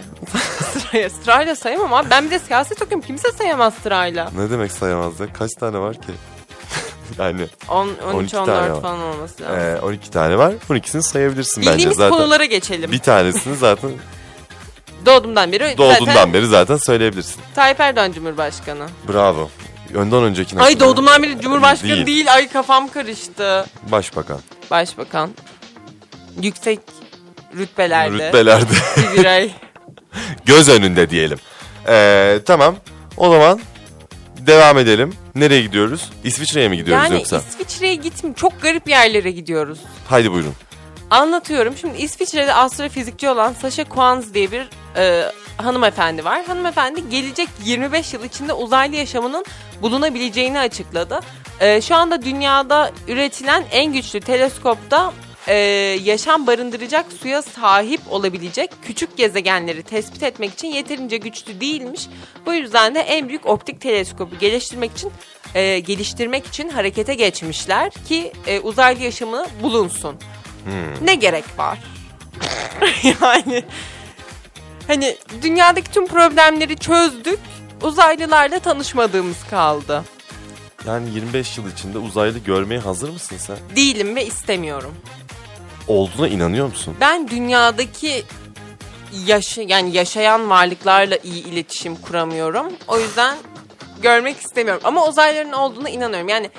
S3: sırayla, sırayla sayamam abi. Ben bir de siyaset okuyorum. Kimse sayamaz sırayla.
S2: Ne demek sayamazdı? Kaç tane var ki? yani
S3: 10,
S2: 12
S3: 13,
S2: tane
S3: 14
S2: var.
S3: falan olması lazım.
S2: e, 12 tane var. 12'sini sayabilirsin bence
S3: Bildiğimiz
S2: zaten.
S3: konulara geçelim.
S2: Bir tanesini zaten
S3: Doğduğumdan beri
S2: doğduğundan
S3: zaten
S2: beri zaten söyleyebilirsin.
S3: Tayyip Erdoğan Cumhurbaşkanı.
S2: Bravo. Önden öncekine
S3: Ay
S2: hatırlıyorum.
S3: doğduğumdan beri Cumhurbaşkanı
S2: Değil.
S3: değil. Ay kafam karıştı.
S2: Başbakan.
S3: Başbakan. Yüksek rütbelerde.
S2: Rütbelerde.
S3: Bir birey.
S2: göz önünde diyelim. Ee, tamam. O zaman devam edelim. Nereye gidiyoruz? İsviçre'ye mi gidiyoruz
S3: yani
S2: yoksa?
S3: İsviçre'ye gitmiyor. Çok garip yerlere gidiyoruz.
S2: Haydi buyurun.
S3: Anlatıyorum. Şimdi İsviçre'de astrofizikçi olan Sasha Quanz diye bir e, hanımefendi var. Hanımefendi gelecek 25 yıl içinde uzaylı yaşamının bulunabileceğini açıkladı. E, şu anda dünyada üretilen en güçlü teleskopta e, yaşam barındıracak suya sahip olabilecek küçük gezegenleri tespit etmek için yeterince güçlü değilmiş. Bu yüzden de en büyük optik teleskobu geliştirmek için e, geliştirmek için harekete geçmişler ki e, uzaylı yaşamı bulunsun ne gerek var? yani hani dünyadaki tüm problemleri çözdük. Uzaylılarla tanışmadığımız kaldı.
S2: Yani 25 yıl içinde uzaylı görmeye hazır mısın sen?
S3: Değilim ve istemiyorum.
S2: Olduğuna inanıyor musun?
S3: Ben dünyadaki yaşa yani yaşayan varlıklarla iyi iletişim kuramıyorum. O yüzden görmek istemiyorum. Ama uzaylıların olduğuna inanıyorum. Yani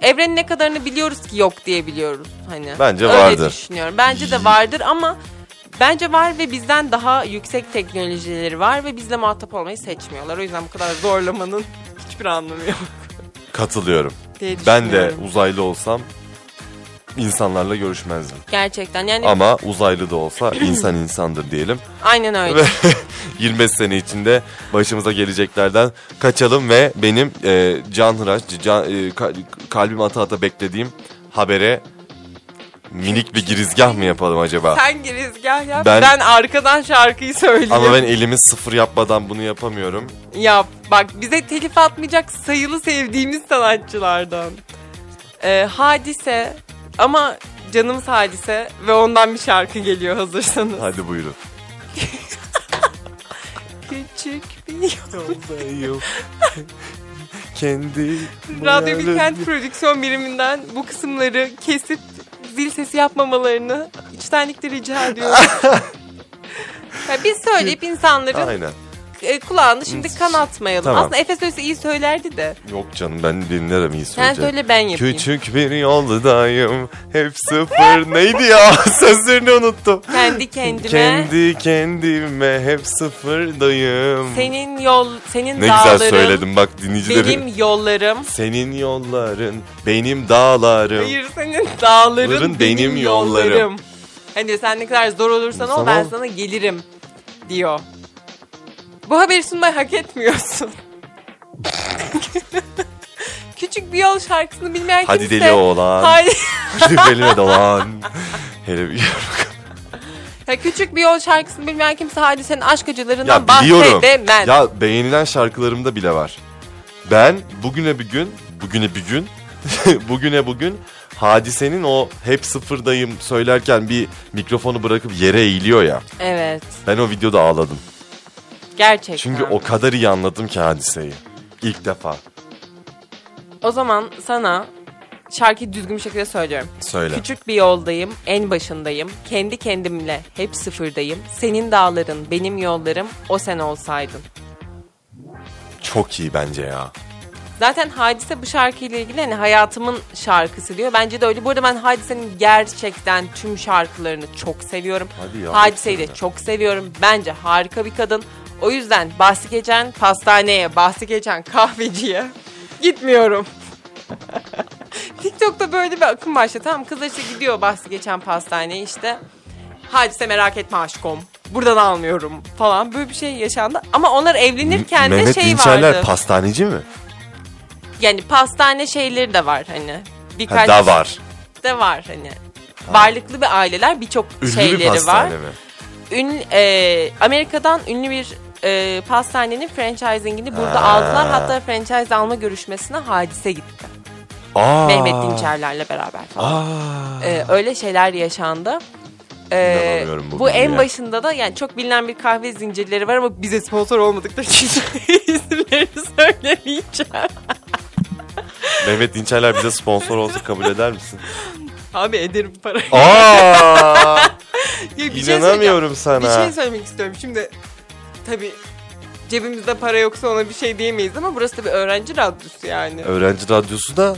S3: evrenin ne kadarını biliyoruz ki yok diye biliyoruz hani.
S2: Bence
S3: Öyle
S2: vardır.
S3: düşünüyorum. Bence de vardır ama bence var ve bizden daha yüksek teknolojileri var ve bizle muhatap olmayı seçmiyorlar. O yüzden bu kadar zorlamanın hiçbir anlamı yok
S2: Katılıyorum.
S3: diye
S2: Ben de
S3: düşünüyorum.
S2: uzaylı olsam insanlarla görüşmezdim.
S3: gerçekten yani
S2: Ama uzaylı da olsa insan insandır diyelim.
S3: aynen öyle.
S2: Ve 25 sene içinde başımıza geleceklerden kaçalım ve benim e, can hıraş, c- can- e, ka- kalbim ata ata beklediğim habere minik bir girizgah mı yapalım acaba?
S3: Sen girizgah yap.
S2: Ben-
S3: Ben, arkadan şarkıyı söyleyeyim.
S2: Ama ben elimi sıfır yapmadan bunu yapamıyorum.
S3: Yap. Bak bize telif atmayacak sayılı sevdiğimiz sanatçılardan. Ee, hadise ama canımız hadise ve ondan bir şarkı geliyor hazırsanız.
S2: Hadi buyurun.
S3: Küçük bir yol.
S2: Kendi
S3: Radyo Bilkent prodüksiyon biriminden bu kısımları kesip zil sesi yapmamalarını içtenlikle rica ediyorum. Ya biz söyleyip insanların
S2: Aynen.
S3: e, kulağını şimdi kanatmayalım.
S2: Tamam.
S3: Aslında Efes Öylesi iyi söylerdi de.
S2: Yok canım ben dinlerim iyi
S3: Sen
S2: söyleyeceğim.
S3: söyle ben yapayım.
S2: Küçük bir yoldayım hep sıfır neydi ya sözlerini unuttum.
S3: Kendi kendime.
S2: Kendi kendime hep sıfırdayım.
S3: Senin yol, senin
S2: ne
S3: dağların,
S2: güzel söyledim bak dinleyicilerim.
S3: benim yollarım.
S2: Senin yolların, benim dağlarım.
S3: Hayır senin dağların,
S2: Benim
S3: benim,
S2: yollarım.
S3: yollarım. Hani sen ne kadar zor olursan ol ben
S2: Tamam.
S3: sana gelirim diyor. Bu haberi sunmayı hak etmiyorsun. Küçük bir yol şarkısını bilmeyen
S2: Hadi
S3: kimse...
S2: deli oğlan.
S3: Haydi.
S2: Hadi beline dolan. Hele bir
S3: Ya küçük bir yol şarkısını bilmeyen kimse hadisenin aşk acılarından
S2: Ya biliyorum.
S3: bahsedemez.
S2: Ya beğenilen şarkılarımda bile var. Ben bugüne bir gün, bugüne bir gün bugüne bugün hadisenin o hep sıfırdayım söylerken bir mikrofonu bırakıp yere eğiliyor ya.
S3: Evet.
S2: Ben o videoda ağladım.
S3: Gerçekten.
S2: Çünkü o kadar iyi anladım ki hadiseyi. İlk defa.
S3: O zaman sana şarkıyı düzgün bir şekilde söylüyorum.
S2: Söyle.
S3: Küçük bir yoldayım, en başındayım. Kendi kendimle hep sıfırdayım. Senin dağların, benim yollarım, o sen olsaydın.
S2: Çok iyi bence ya.
S3: Zaten Hadise bu şarkıyla ilgili hani hayatımın şarkısı diyor. Bence de öyle. Bu arada ben Hadise'nin gerçekten tüm şarkılarını çok seviyorum.
S2: Hadi ya,
S3: Hadise'yi de
S2: gerçekten.
S3: çok seviyorum. Bence harika bir kadın. O yüzden bahsi geçen pastaneye, bahsi geçen kahveciye gitmiyorum. TikTok'ta böyle bir akım başladı. Tamam kızlar işte gidiyor bahsi geçen pastaneye işte. Hadise merak etme aşkom. Buradan almıyorum falan. Böyle bir şey yaşandı. Ama onlar evlenirken de
S2: Mehmet
S3: şey
S2: Dinçerler
S3: vardı.
S2: pastaneci mi?
S3: Yani pastane şeyleri de var hani.
S2: Ha,
S3: Birkaç
S2: da var.
S3: de var hani. Varlıklı bir aileler birçok
S2: Ünlü bir
S3: şeyleri var.
S2: pastane mi?
S3: Ün, e, Amerika'dan ünlü bir e, pastanenin franchisingini burada
S2: Ha.
S3: aldılar. Hatta franchise alma görüşmesine hadise gitti.
S2: Aa.
S3: Mehmet Dinçerlerle beraber falan.
S2: Aa.
S3: E, öyle şeyler yaşandı. E,
S2: İnanamıyorum bu
S3: bu en
S2: bilgiye.
S3: başında da yani çok bilinen bir kahve zincirleri var ama bize sponsor olmadıkları için isimlerini söylemeyeceğim.
S2: Mehmet Dinçerler bize sponsor olsa kabul eder misin?
S3: Abi ederim parayı.
S2: Aa.
S3: Ya bir şey söyleyeceğim.
S2: İnanamıyorum sana.
S3: Bir şey söylemek istiyorum. Şimdi tabii cebimizde para yoksa ona bir şey diyemeyiz ama burası da bir öğrenci radyosu yani.
S2: Öğrenci radyosu da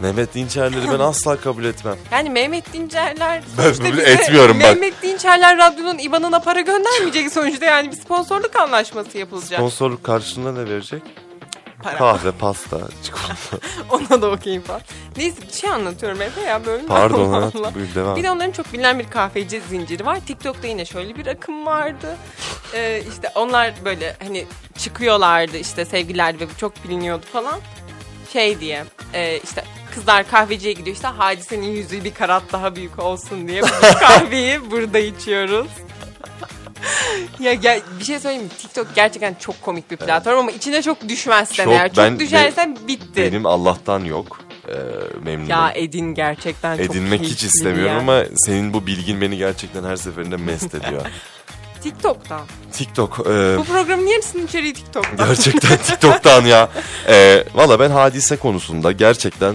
S2: Mehmet Dinçerleri ben asla kabul etmem.
S3: Yani Mehmet Dinçerler
S2: Ben
S3: sonuçta
S2: bunu
S3: bize-
S2: etmiyorum bak.
S3: Mehmet Dinçerler radyonun IBAN'ına para göndermeyecek sonuçta yani bir sponsorluk anlaşması yapılacak.
S2: Sponsorluk karşılığında ne verecek?
S3: para.
S2: Kahve, pasta, çikolata.
S3: Ona da okeyim falan. Neyse bir şey anlatıyorum Efe ya bölüm.
S2: Pardon
S3: Allah
S2: hayat
S3: Allah.
S2: buyur devam.
S3: Bir de onların çok bilinen bir kahveci zinciri var. TikTok'ta yine şöyle bir akım vardı. Ee, işte onlar böyle hani çıkıyorlardı işte sevgililer ve bu çok biliniyordu falan. Şey diye e, işte kızlar kahveciye gidiyor işte hadisenin yüzü bir karat daha büyük olsun diye bu kahveyi burada içiyoruz. ya, gel- bir şey söyleyeyim mi? TikTok gerçekten çok komik bir platform ama içine çok düşmezsen
S2: Çok,
S3: eğer. Çok
S2: ben-
S3: düşersen bitti.
S2: Benim Allah'tan yok. Ee, memnunum.
S3: Ya Edin gerçekten çok
S2: Edinmek hiç
S3: keyifli
S2: istemiyorum
S3: ya.
S2: ama senin bu bilgin beni gerçekten her seferinde mest ediyor.
S3: TikTok'ta.
S2: Tiktok. e,
S3: Bu programın yarısının içeriği TikTok'ta.
S2: gerçekten TikTok'tan ya. E, Valla ben hadise konusunda gerçekten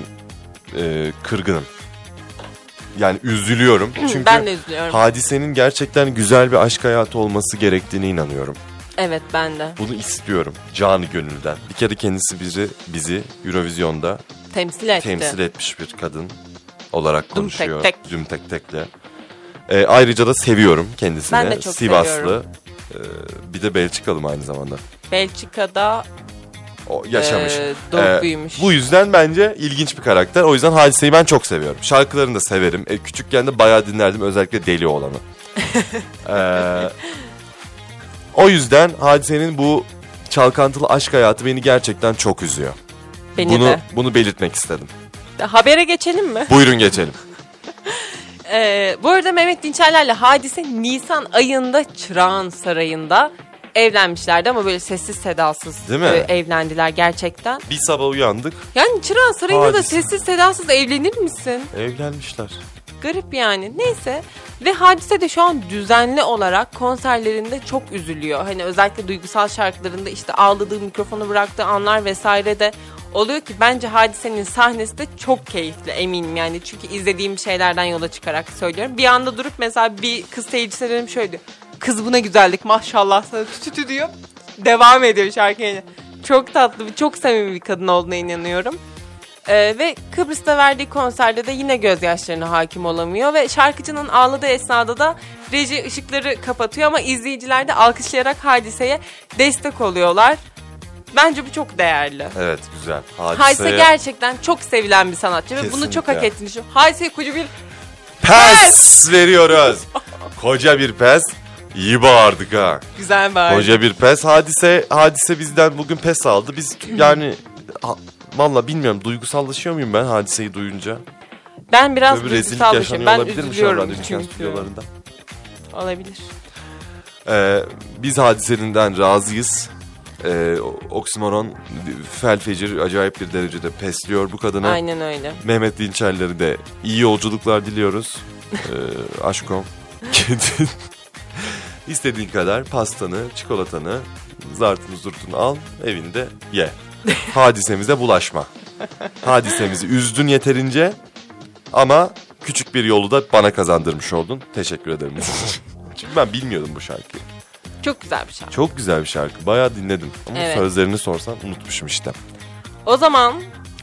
S2: e, kırgınım. Yani üzülüyorum. Çünkü
S3: Hmm, ben de üzülüyorum.
S2: hadisenin gerçekten güzel bir aşk hayatı olması gerektiğine inanıyorum.
S3: evet ben de.
S2: Bunu istiyorum canı gönülden. Bir kere kendisi bizi bizi Eurovision'da
S3: Temsil etti.
S2: temsil etmiş bir kadın olarak
S3: Düm tek
S2: konuşuyor.
S3: tek.
S2: Düm tek tekle. Ee, ayrıca da seviyorum kendisini.
S3: Ben de çok
S2: Sivaslı.
S3: seviyorum.
S2: Ee, bir de Belçikalım aynı zamanda.
S3: Belçika'da
S2: O yaşamış.
S3: Ee, doğup
S2: Ee,
S3: büyümüş.
S2: Bu yüzden bence ilginç bir karakter. O yüzden Hadise'yi ben çok seviyorum. Şarkılarını da severim. E, küçükken de bayağı dinlerdim. Özellikle Deli Olan'ı. Ee, o yüzden Hadise'nin bu çalkantılı aşk hayatı beni gerçekten çok üzüyor.
S3: beni
S2: bunu
S3: de.
S2: bunu belirtmek istedim.
S3: Habere geçelim mi?
S2: Buyurun geçelim.
S3: Ee, bu arada Mehmet Dinçerler'le Hadise Nisan ayında Çırağan Sarayı'nda evlenmişlerdi ama böyle sessiz sedasız
S2: Değil mi?
S3: e, evlendiler gerçekten.
S2: Bir sabah uyandık.
S3: Yani Çırağan Sarayı'nda da
S2: Hadise.
S3: sessiz sedasız evlenir misin?
S2: Evlenmişler.
S3: Garip yani. Neyse. Ve Hadise de şu an düzenli olarak konserlerinde çok üzülüyor. Hani özellikle duygusal şarkılarında işte ağladığı mikrofonu bıraktığı anlar vesaire de oluyor ki bence Hadise'nin sahnesi de çok keyifli eminim yani. Çünkü izlediğim şeylerden yola çıkarak söylüyorum. Bir anda durup mesela bir kız seyircisine dönüp şöyle diyor. Kız buna güzellik maşallah sana tütü diyor. Devam ediyor şarkıya. Çok tatlı, çok samimi bir kadın olduğuna inanıyorum. Ee, ve Kıbrıs'ta verdiği konserde de yine gözyaşlarına hakim olamıyor ve şarkıcının ağladığı esnada da reji ışıkları kapatıyor ama izleyiciler de alkışlayarak hadiseye destek oluyorlar. Bence bu çok değerli.
S2: Evet güzel.
S3: Hadise
S2: Hadise
S3: gerçekten çok sevilen bir sanatçı ve bunu
S2: Kesinlikle.
S3: çok hak ettiğini düşünüyorum. Hadise'ye koca bir
S2: pes veriyoruz. Koca bir pes. İyi bağırdık ha.
S3: güzel var.
S2: Koca bir pes. Hadise hadise bizden bugün pes aldı. Biz yani ha- valla bilmiyorum duygusallaşıyor muyum ben hadiseyi duyunca?
S3: Ben biraz
S2: Böyle bir rezillik
S3: duygusal
S2: yaşanıyor
S3: düşünüyorum. Ben
S2: olabilir mi şu an
S3: üzülüyorum
S2: radyo dükkan
S3: çünkü.
S2: stüdyolarında?
S3: Olabilir.
S2: Ee, biz hadiselinden razıyız. Ee, o- oksimoron fel fecir acayip bir derecede pesliyor bu kadını.
S3: Aynen öyle.
S2: Mehmet Dinçerleri de iyi yolculuklar diliyoruz. Ee, aşkom. Kendin- İstediğin kadar pastanı, çikolatanı, zartını zurtunu al, evinde ye. Hadisemize bulaşma. Hadisemizi üzdün yeterince ama küçük bir yolu da bana kazandırmış oldun. Teşekkür ederim. Çünkü ben bilmiyordum bu şarkıyı.
S3: Çok güzel bir şarkı.
S2: Çok güzel bir şarkı. Bayağı dinledim. Ama
S3: Evet.
S2: sözlerini sorsan unutmuşum işte.
S3: O zaman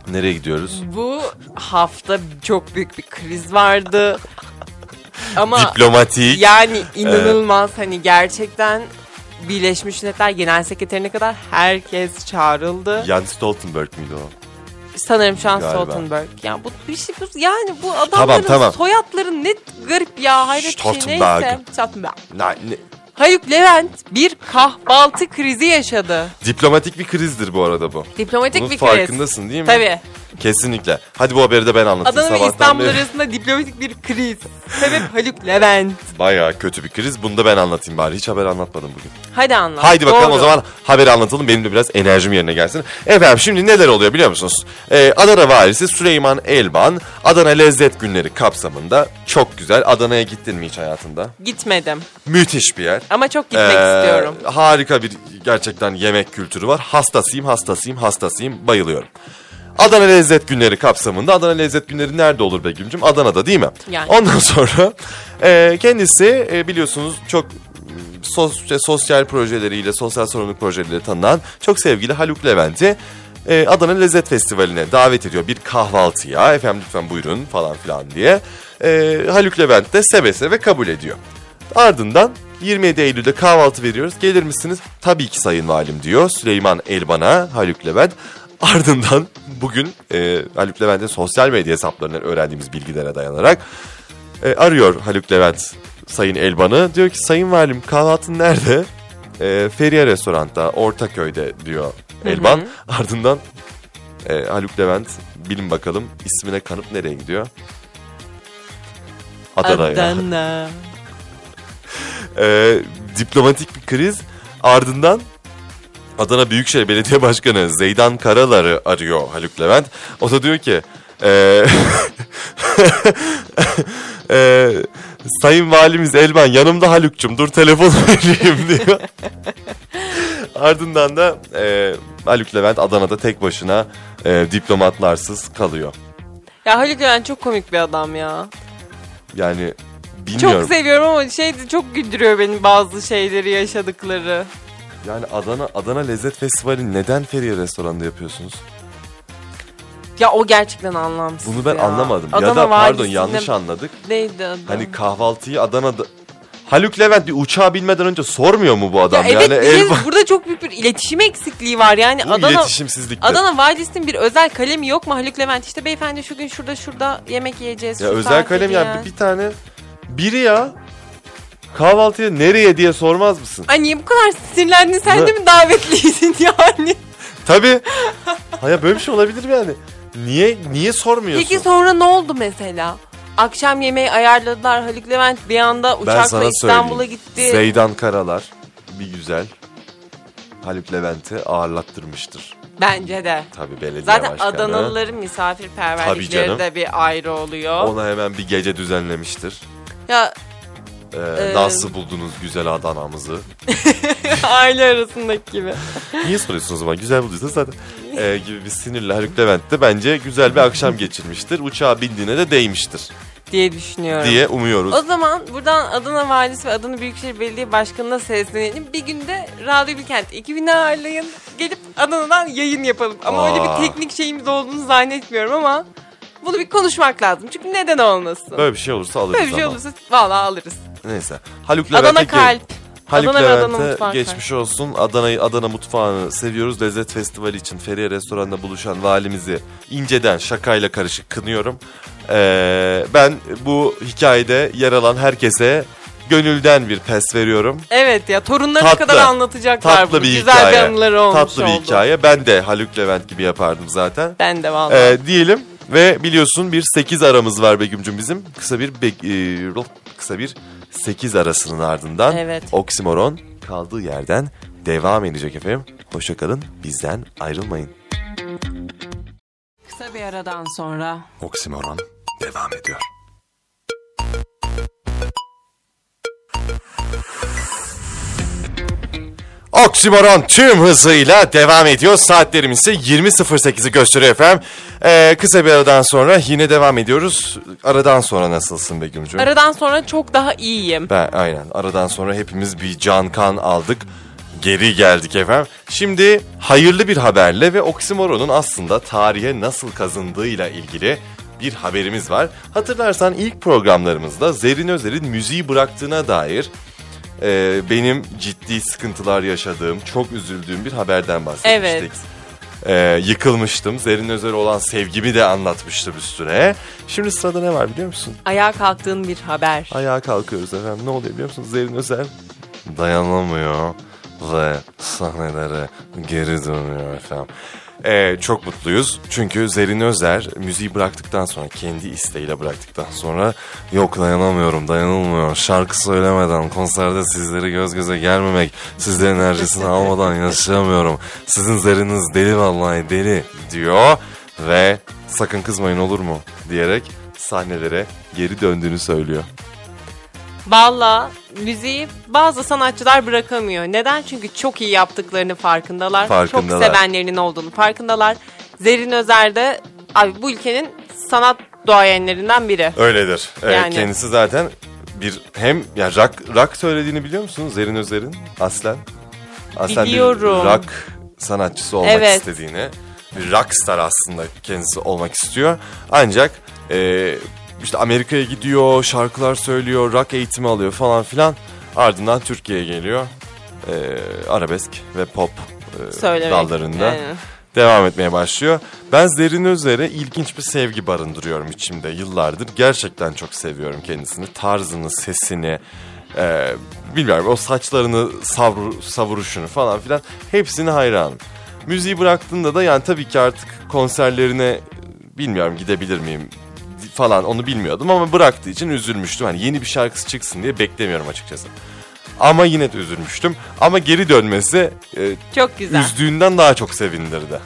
S2: Nereye gidiyoruz?
S3: bu hafta çok büyük bir kriz vardı. Ama
S2: Diplomatik.
S3: yani inanılmaz hani gerçekten Birleşmiş Milletler Genel Sekreterine kadar herkes çağrıldı.
S2: Jan Stoltenberg miydi o?
S3: Sanırım şu an
S2: Galiba.
S3: Stoltenberg. Ya bu bir şey bu yani bu adamların
S2: tamam.
S3: soyadları ne garip ya hayret bir şey
S2: Stoltenberg.
S3: neyse. Stoltenberg.
S2: Na- ne-
S3: Haluk Levent bir kahvaltı krizi yaşadı.
S2: Diplomatik bir krizdir bu arada bu.
S3: Diplomatik
S2: Bunun
S3: bir kriz.
S2: farkındasın değil mi?
S3: Tabii.
S2: Kesinlikle. Hadi bu haberi de ben anlatayım
S3: Adana ve
S2: sabahtan
S3: İstanbul
S2: beri.
S3: arasında diplomatik bir kriz. Sebep Haluk Levent.
S2: Bayağı kötü bir kriz. Bunu da ben anlatayım bari. Hiç haber anlatmadım bugün.
S3: Hadi anlat.
S2: Haydi bakalım
S3: Doğru.
S2: o zaman haberi anlatalım. Benim de biraz enerjim yerine gelsin. Efendim şimdi neler oluyor biliyor musunuz? Ee, Adana valisi Süleyman Elvan Adana Lezzet Günleri kapsamında çok güzel. Adana'ya gittin mi hiç hayatında?
S3: Gitmedim
S2: Müthiş bir yer.
S3: ama çok gitmek
S2: Ee,
S3: istiyorum.
S2: Harika bir gerçekten yemek kültürü var. Hastasıyım, hastasıyım, hastasıyım. Bayılıyorum. Adana Lezzet Günleri kapsamında Adana Lezzet Günleri nerede olur Begüm'cüm? Adana'da değil mi?
S3: Yani.
S2: Ondan sonra e, kendisi e, biliyorsunuz çok mm, sos- şey, sosyal projeleriyle, sosyal sorumluluk projeleriyle tanınan çok sevgili Haluk Levent'i e, Adana Lezzet Festivali'ne davet ediyor. Bir kahvaltıya, efendim lütfen buyurun falan filan diye. E, Haluk Levent de seve seve kabul ediyor. Ardından 27 Eylül'de kahvaltı veriyoruz. Gelir misiniz? Tabii ki sayın valim diyor Süleyman Elban'a Haluk Levent. Ardından bugün e, Haluk Levent'in sosyal medya hesaplarından öğrendiğimiz bilgilere dayanarak e, arıyor Haluk Levent Sayın Elban'ı. Diyor ki Sayın Valim kahvaltın nerede? E, Feriye Restorant'ta Ortaköy'de diyor Elban. Ardından e, Haluk Levent bilin bakalım ismine kanıp nereye gidiyor? Adana'ya.
S3: Adana.
S2: Ee, diplomatik bir kriz. Ardından Adana Büyükşehir Belediye Başkanı Zeydan Karalar'ı arıyor Haluk Levent. O da diyor ki ee, ee, Sayın Valimiz Elvan yanımda Haluk'cum dur telefon vereyim diyor. Ardından da ee, Haluk Levent Adana'da tek başına ee, diplomatlarsız kalıyor.
S3: Ya Haluk Levent çok komik bir adam ya.
S2: Yani
S3: Çok
S2: bilmiyorum.
S3: seviyorum ama şey de çok güldürüyor beni bazı şeyleri yaşadıkları.
S2: yani Adana Adana Lezzet Festivali neden Feriye Restoran'da yapıyorsunuz?
S3: Ya o gerçekten anlamsız.
S2: Bunu ben
S3: ya.
S2: anlamadım. ya
S3: Adana
S2: da pardon
S3: valisinde-
S2: yanlış anladık.
S3: Neydi adı?
S2: Hani kahvaltıyı Adana'da... Haluk Levent bir uçağa binmeden önce sormuyor mu bu
S3: Ya
S2: adam?
S3: evet
S2: yani
S3: bir de
S2: el...
S3: burada çok büyük bir iletişim eksikliği var yani
S2: Bu
S3: Adana
S2: iletişimsizlikte.
S3: Adana valisinin bir özel kalemi yok mu Haluk Levent? İşte beyefendi şu gün şurada şurada yemek yiyeceğiz.
S2: Ya
S3: şu
S2: özel
S3: saatte
S2: kalem
S3: diye.
S2: yani bir, bir tane... Biri ya kahvaltıya nereye diye sormaz mısın?
S3: Ay niye bu kadar sinirlendin sen
S2: Ne?
S3: de mi davetliydin yani?
S2: Tabii. Hayır böyle bir şey olabilir mi yani? Niye niye sormuyorsun?
S3: Peki sonra ne oldu mesela? Akşam yemeği ayarladılar Haluk Levent bir anda uçakla
S2: sana
S3: İstanbul'a
S2: söyleyeyim.
S3: gitti.
S2: Zeydan Karalar bir güzel Haluk Levent'i ağırlattırmıştır.
S3: Bence de.
S2: Tabii belediye
S3: Zaten
S2: başkanı.
S3: Adanalıların
S2: Tabii
S3: misafirperverlikleri
S2: canım.
S3: de bir ayrı oluyor.
S2: Ona hemen bir gece düzenlemiştir.
S3: Ya
S2: Ee,
S3: Ee,
S2: nasıl buldunuz güzel Adana'mızı?
S3: aile arasındaki gibi.
S2: Niye soruyorsunuz o zaman? Güzel bulduysanız zaten ee, gibi bir sinirle Haluk Levent de bence güzel bir akşam geçirmiştir. Uçağa bindiğine de değmiştir
S3: diye düşünüyorum.
S2: diye umuyoruz.
S3: O zaman buradan Adana Valisi ve Adana Büyükşehir Belediye Başkanı'na seslenelim. Bir günde Radyo Bilkent ekibini ağırlayın. Gelip Adana'dan yayın yapalım. Ama öyle
S2: Aa.
S3: bir teknik şeyimiz olduğunu zannetmiyorum ama bunu bir konuşmak lazım. Çünkü neden olmasın? Böyle,
S2: Böyle bir şey olursa alırız
S3: bir şey
S2: ama.
S3: olursa vallahi alırız.
S2: Neyse. Haluk
S3: Adana
S2: Levent'e gel-
S3: kalp.
S2: Haluk
S3: Adana ve Adana
S2: Levent'e
S3: mutfağı
S2: geçmiş olsun. Adana'yı Adana mutfağını seviyoruz. Lezzet Festivali için Feriye Restoran'da buluşan valimizi inceden şakayla karışık kınıyorum. Ee, ben bu hikayede yer alan herkese gönülden bir pes veriyorum.
S3: Evet ya torunlarına
S2: Tatlı.
S3: kadar anlatacaklar
S2: Tatlı
S3: bunu.
S2: bir
S3: Güzel
S2: hikaye.
S3: bir anıları olmuş
S2: Tatlı bir
S3: oldu.
S2: hikaye. Ben de Haluk Levent gibi yapardım zaten.
S3: Ben de vallahi.
S2: Ee, diyelim ve biliyorsun bir 8 aramız var Begüm'cüm bizim. Kısa bir be- e, kısa bir 8 arasının ardından
S3: Evet.
S2: oksimoron kaldığı yerden devam edecek efendim. Hoşça kalın, bizden ayrılmayın.
S3: Kısa bir aradan sonra
S2: Oksimoron devam ediyor. Oksimoron tüm hızıyla devam ediyor. Saatlerimiz ise 20.08'i gösteriyor efendim. Ee, kısa bir aradan sonra yine devam ediyoruz. Aradan sonra nasılsın Begüm'cüğüm?
S3: aradan sonra çok daha iyiyim.
S2: Ben aynen aradan sonra hepimiz bir can kan aldık. Geri geldik efendim. Şimdi hayırlı bir haberle ve oksimoronun aslında tarihe nasıl kazındığıyla ilgili bir haberimiz var. Hatırlarsan ilk programlarımızda Zerrin Özer'in müziği bıraktığına dair e, benim ciddi sıkıntılar yaşadığım, çok üzüldüğüm bir haberden bahsetmiştik.
S3: Evet.
S2: E, yıkılmıştım. Zerrin Özer'e olan sevgimi de anlatmıştım üstüne. Şimdi sırada ne var biliyor musun?
S3: Ayağa kalktığın bir haber.
S2: Ayağa kalkıyoruz efendim. Ne oluyor biliyor musunuz? Zerrin Özer dayanamıyor ve sahnelere geri dönüyor efendim. Ee, çok mutluyuz çünkü Zerrin Özer müziği bıraktıktan sonra kendi isteğiyle bıraktıktan sonra yok dayanamıyorum dayanılmıyor şarkı söylemeden konserde sizleri göz göze gelmemek sizlerin enerjisini almadan yaşayamıyorum sizin zerriniz deli vallahi deli diyor ve sakın kızmayın olur mu diyerek sahnelere geri döndüğünü söylüyor.
S3: Valla müziği bazı sanatçılar bırakamıyor. Neden? Çünkü çok iyi yaptıklarını farkındalar.
S2: Farkındalar.
S3: Çok sevenlerinin olduğunu farkındalar. Zerrin Özer de abi bu ülkenin sanat doğayenlerinden biri.
S2: Öyledir. Evet,
S3: Yani.
S2: Kendisi zaten bir hem ya rock, rock söylediğini biliyor musun? Zerin Özer'in aslen. Aslen
S3: Biliyorum.
S2: bir rock sanatçısı olmak
S3: Evet.
S2: istediğini. Bir rockstar aslında kendisi olmak istiyor. Ancak e, işte Amerika'ya gidiyor, şarkılar söylüyor, rock eğitimi alıyor falan filan. Ardından Türkiye'ye geliyor. E, arabesk ve pop e,
S3: Söylemek.
S2: dallarında
S3: Aynen.
S2: devam etmeye başlıyor. Ben Zerrin Özer'e ilginç bir sevgi barındırıyorum içimde yıllardır. Gerçekten çok seviyorum kendisini. Tarzını, sesini, e, bilmiyorum o saçlarını savru- savuruşunu falan filan hepsine hayranım. Müziği bıraktığında da yani tabii ki artık konserlerine e, bilmiyorum gidebilir miyim falan onu bilmiyordum ama bıraktığı için üzülmüştüm. Hani yeni bir şarkısı çıksın diye beklemiyorum açıkçası. Ama yine de üzülmüştüm. Ama geri dönmesi e,
S3: Çok güzel.
S2: üzdüğünden daha çok sevindirdi.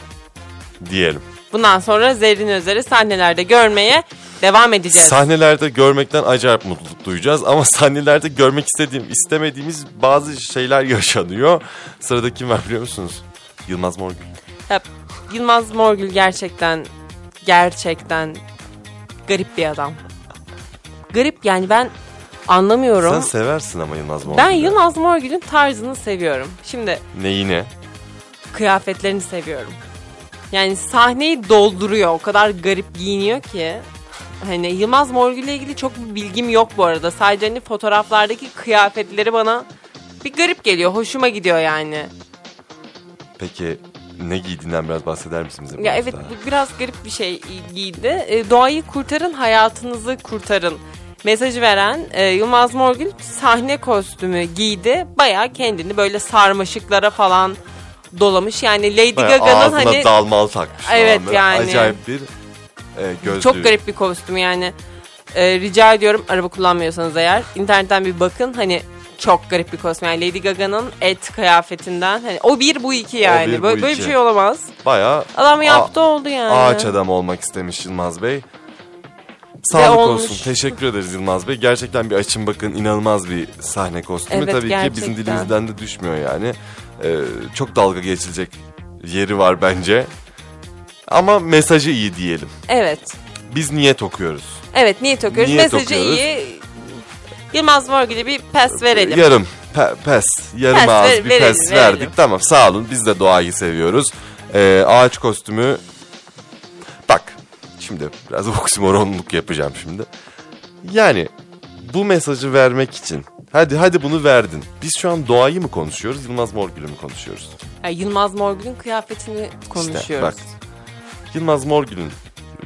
S2: Diyelim.
S3: Bundan sonra Zerrin Özer'i sahnelerde görmeye devam edeceğiz.
S2: Sahnelerde görmekten acayip mutluluk duyacağız ama sahnelerde görmek istediğim, istemediğimiz bazı şeyler yaşanıyor. Sırada kim var biliyor musunuz? Yılmaz Morgül.
S3: Ya, Yılmaz Morgül gerçekten gerçekten garip bir adam. Garip yani ben anlamıyorum.
S2: Sen seversin ama Yılmaz Morgül'ü.
S3: ben Yılmaz Morgül'ün tarzını seviyorum. Şimdi
S2: Neyine?
S3: kıyafetlerini seviyorum. Yani sahneyi dolduruyor. O kadar garip giyiniyor ki. Hani Yılmaz Morgül'le ilgili çok bir bilgim yok bu arada. Sadece hani fotoğraflardaki kıyafetleri bana bir garip geliyor. Hoşuma gidiyor yani.
S2: Peki ne giydiğinden biraz bahseder misin bize?
S3: Ya
S2: biraz
S3: evet
S2: daha?
S3: bu biraz garip bir şey giydi. E, doğayı kurtarın, hayatınızı kurtarın. Mesajı veren e, Yılmaz Morgül sahne kostümü giydi. Bayağı kendini böyle sarmaşıklara falan dolamış. Yani Lady
S2: Bayağı
S3: Gaga'nın
S2: ağzına
S3: hani
S2: dalmal takmış. falan
S3: Evet,
S2: böyle.
S3: yani.
S2: Acayip bir e, gözlüğü.
S3: çok garip bir kostüm yani. E, rica ediyorum araba kullanmıyorsanız eğer internetten bir bakın. Hani çok garip bir kostüm. Yani Lady Gaga'nın et kıyafetinden. Hani o bir bu iki yani.
S2: bir, bu
S3: böyle, böyle
S2: iki.
S3: bir şey olamaz.
S2: Bayağı
S3: Adam
S2: a-
S3: yaptı oldu yani.
S2: Ağaç adamı olmak istemiş Yılmaz Bey. Sağlık
S3: E, olmuş.
S2: olsun. Teşekkür ederiz Yılmaz Bey. Gerçekten bir açın bakın inanılmaz bir sahne kostümü.
S3: Evet,
S2: Tabii ki bizim
S3: gerçekten.
S2: dilimizden de düşmüyor yani. Ee, çok dalga geçilecek yeri var bence. Ama mesajı iyi diyelim.
S3: Evet.
S2: Biz niyet okuyoruz.
S3: Evet niyet okuyoruz.
S2: Niyet
S3: Mesajı
S2: okuyoruz.
S3: iyi. Yılmaz Morgül'e bir pes verelim.
S2: Yarım pe- pes, yarım
S3: Pes,
S2: ağız
S3: ver-
S2: bir
S3: verelim,
S2: pes
S3: verelim.
S2: verdik. Tamam sağ olun biz de doğayı seviyoruz. Ee, ağaç kostümü... Bak şimdi biraz oksimoronluk yapacağım şimdi. Yani bu mesajı vermek için hadi hadi bunu verdin. Biz şu an doğayı mı konuşuyoruz Yılmaz Morgül'ü mü konuşuyoruz?
S3: Ya Yılmaz Morgül'ün kıyafetini konuşuyoruz.
S2: bak. Yılmaz Morgül'ün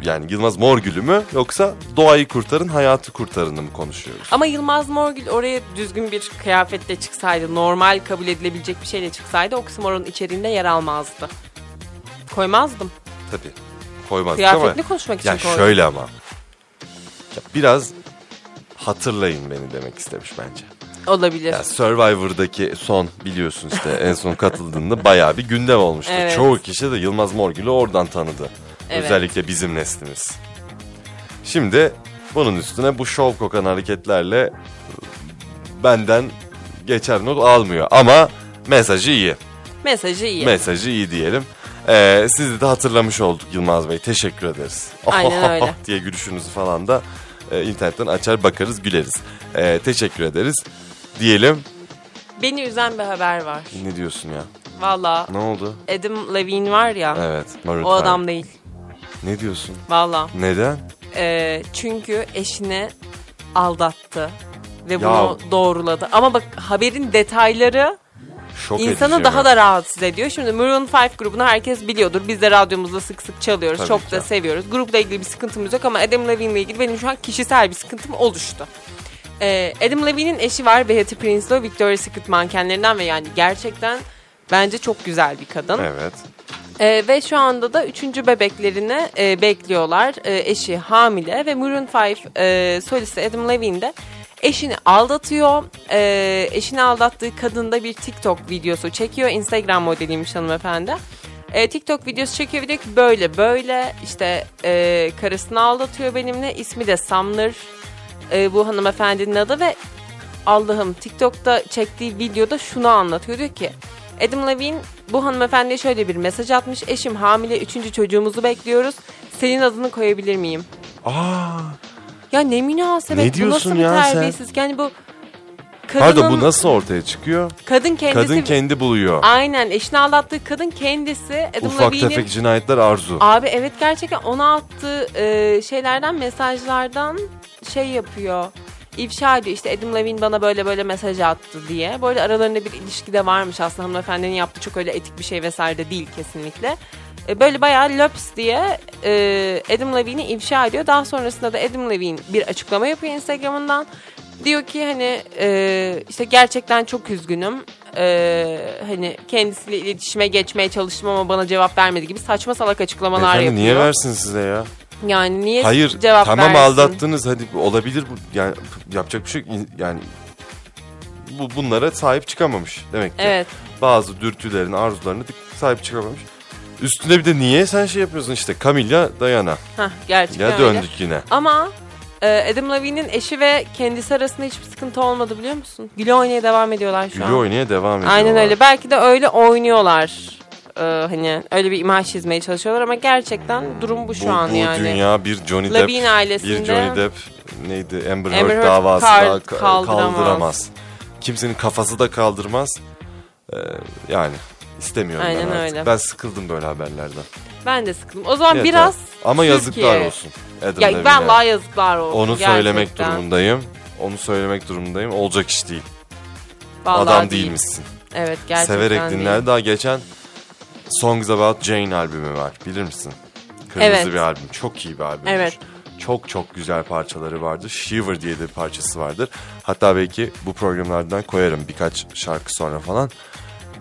S2: yani Yılmaz Morgül'ü mü yoksa doğayı kurtarın hayatı kurtarını mı konuşuyoruz?
S3: Ama Yılmaz Morgül oraya düzgün bir kıyafetle çıksaydı, normal kabul edilebilecek bir şeyle çıksaydı oksimoron içeriğinde yer almazdı. Koymazdım.
S2: Tabii koymazdık ama...
S3: Kıyafetini konuşmak için
S2: Ya
S3: koydum.
S2: şöyle ama. Ya biraz hatırlayın beni demek istemiş bence.
S3: Olabilir.
S2: Ya Survivor'daki son biliyorsun işte en son katıldığında bayağı bir gündem olmuştu.
S3: Evet.
S2: Çoğu kişi de Yılmaz Morgül'ü oradan tanıdı.
S3: Evet.
S2: Özellikle bizim neslimiz. Şimdi bunun üstüne bu şov kokan hareketlerle benden geçer not almıyor ama mesajı iyi.
S3: Mesajı iyi.
S2: Mesajı iyi diyelim. Ee, sizi de hatırlamış olduk Yılmaz Bey. Teşekkür ederiz.
S3: Aynen öyle.
S2: diye gülüşünüzü falan da e, internetten açar bakarız güleriz. Ee, teşekkür ederiz diyelim.
S3: Beni üzen bir haber var.
S2: Ne diyorsun ya?
S3: Valla
S2: Ne oldu?
S3: Adam Levine var ya
S2: Evet. Maroon
S3: o
S2: five.
S3: adam değil.
S2: Ne diyorsun?
S3: Valla.
S2: Neden?
S3: Ee, çünkü eşini aldattı ve
S2: Ya.
S3: bunu doğruladı. Ama bak haberin detayları
S2: Şok
S3: insanı
S2: edici
S3: daha
S2: mi?
S3: da rahatsız ediyor. Şimdi Maroon 5 grubunu herkes biliyordur. Biz de radyomuzda sık sık çalıyoruz.
S2: Tabii
S3: Çok
S2: ki.
S3: da seviyoruz. Grupla ilgili bir sıkıntımız yok ama Adam Levine'le ilgili benim şu an kişisel bir sıkıntım oluştu. Ee, Adam Levine'in eşi var Behati Prinsloo, Victoria's Secret mankenlerinden ve yani gerçekten bence çok güzel bir kadın.
S2: Evet.
S3: Ee, ve şu anda da üçüncü bebeklerini e, bekliyorlar. E, eşi hamile ve Maroon 5 e, solisti Adam Levine de eşini aldatıyor. E, eşini aldattığı kadında bir TikTok videosu çekiyor. Instagram modeliymiş hanımefendi. E, TikTok videosu çekiyor ve diyor ki böyle böyle işte e, karısını aldatıyor benimle. İsmi de Sumner e, bu hanımefendinin adı ve Allah'ım TikTok'ta çektiği videoda şunu anlatıyor diyor ki Adam Levine bu hanımefendiye şöyle bir mesaj atmış. Eşim hamile üçüncü çocuğumuzu bekliyoruz. Senin adını koyabilir miyim?
S2: Aa,
S3: Ya ne münasebet
S2: Ne
S3: bu
S2: diyorsun
S3: nasıl bir
S2: ya sen?
S3: terbiyesiz. Yani bu kadının,
S2: pardon bu nasıl ortaya çıkıyor?
S3: kadın kendisi
S2: Kadın kendi buluyor.
S3: aynen eşini aldattığı kadın kendisi Adam
S2: Ufak
S3: Levine'in-
S2: tefek cinayetler arzu.
S3: Abi evet gerçekten ona attığı e, şeylerden mesajlardan şey yapıyor. İfşa ediyor işte Adam Levine bana böyle böyle mesaj attı diye. Bu arada aralarında bir ilişki de varmış aslında hanımefendinin yaptığı çok öyle etik bir şey vesaire de değil kesinlikle. E, böyle bayağı löps diye e, Adam Levine'i ifşa ediyor. Daha sonrasında da Adam Levine bir açıklama yapıyor Instagram'ından. Diyor ki hani e, işte gerçekten çok üzgünüm. E, hani kendisiyle iletişime geçmeye çalıştım ama bana cevap vermedi gibi saçma salak açıklamalar
S2: Efendim
S3: yapıyor.
S2: niye versin size ya?
S3: Yani niye
S2: Hayır
S3: cevap
S2: tamam
S3: versin?
S2: aldattınız hadi olabilir bu yani yapacak bir şey yok. İn- yani bu bunlara sahip çıkamamış demek ki.
S3: Evet.
S2: Bazı dürtülerin arzularına dik- sahip çıkamamış. Üstüne bir de niye sen şey yapıyorsun işte Camilla Dayana.
S3: Hah, gerçekten
S2: Ya
S3: öyle.
S2: döndük yine.
S3: Ama e, Adam Levine'in eşi ve kendisi arasında hiçbir sıkıntı olmadı biliyor musun? Güle oynaya devam ediyorlar şu
S2: Gülü
S3: an.
S2: oynaya devam ediyorlar.
S3: Aynen öyle. Belki de öyle oynuyorlar. Ee, hani öyle bir imaj çizmeye çalışıyorlar ama gerçekten durum bu şu
S2: bu,
S3: an
S2: bu
S3: yani.
S2: dünya bir Johnny Depp,
S3: Levine ailesinde
S2: bir Johnny Depp neydi
S3: Amber
S2: Amber, Heard
S3: Heard
S2: davası
S3: kar-
S2: daha ka- kaldıramaz.
S3: kaldıramaz.
S2: Kimsenin kafası da kaldırmaz. Ee, yani istemiyorum
S3: Aynen
S2: ben artık.
S3: öyle.
S2: Ben sıkıldım böyle haberlerden.
S3: ben de sıkıldım. O zaman
S2: Evet,
S3: biraz
S2: evet. ama yazıklar
S3: Türkiye.
S2: olsun. Adam
S3: ya
S2: Levine'e.
S3: vallahi yazıklar olsun.
S2: onu söylemek
S3: gerçekten.
S2: durumundayım. Onu söylemek durumundayım. Olacak iş değil.
S3: Vallahi
S2: Adam
S3: değil.
S2: değilmişsin.
S3: Evet gerçekten.
S2: Severek
S3: değil.
S2: dinler. Daha geçen Songs About Jane albümü var. Bilir misin? Kırmızı
S3: Evet.
S2: bir albüm. Çok iyi bir albüm.
S3: Evet.
S2: Çok çok güzel parçaları vardır. Shiver diye de bir parçası vardır. Hatta belki bu programlardan koyarım birkaç şarkı sonra falan.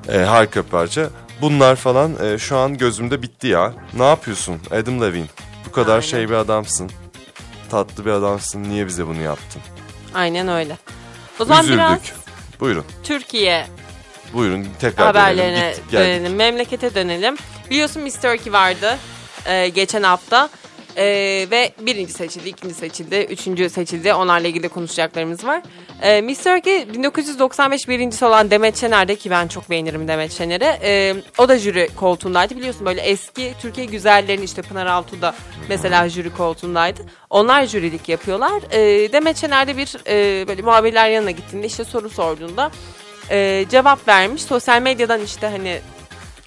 S2: Ee, harika bir parça. Bunlar falan e, şu an gözümde bitti ya. Ne yapıyorsun Adam Levine? Bu kadar
S3: Aynen.
S2: şey bir adamsın. Tatlı bir adamsın. Niye bize bunu yaptın?
S3: Aynen öyle. O zaman
S2: Üzüldük.
S3: biraz
S2: Buyurun.
S3: Türkiye
S2: Buyurun tekrar dönelim.
S3: haberlerine
S2: Gittik, geldik.
S3: dönelim. Memlekete dönelim. Biliyorsun Miss Turkey vardı e, geçen hafta. E, ve birinci seçildi, ikinci seçildi, üçüncü seçildi. Onlarla ilgili de konuşacaklarımız var. E, Miss Turkey 1995 birincisi olan Demet Şener'de ki ben çok beğenirim Demet Şener'i. E, o da jüri koltuğundaydı. Biliyorsun böyle eski Türkiye güzellerinin işte Pınar Altuğ da mesela jüri koltuğundaydı. Onlar jürilik yapıyorlar. E, Demet Şener'de bir e, böyle muhabirler yanına gittiğinde işte soru sorduğunda e, cevap vermiş. Sosyal medyadan işte hani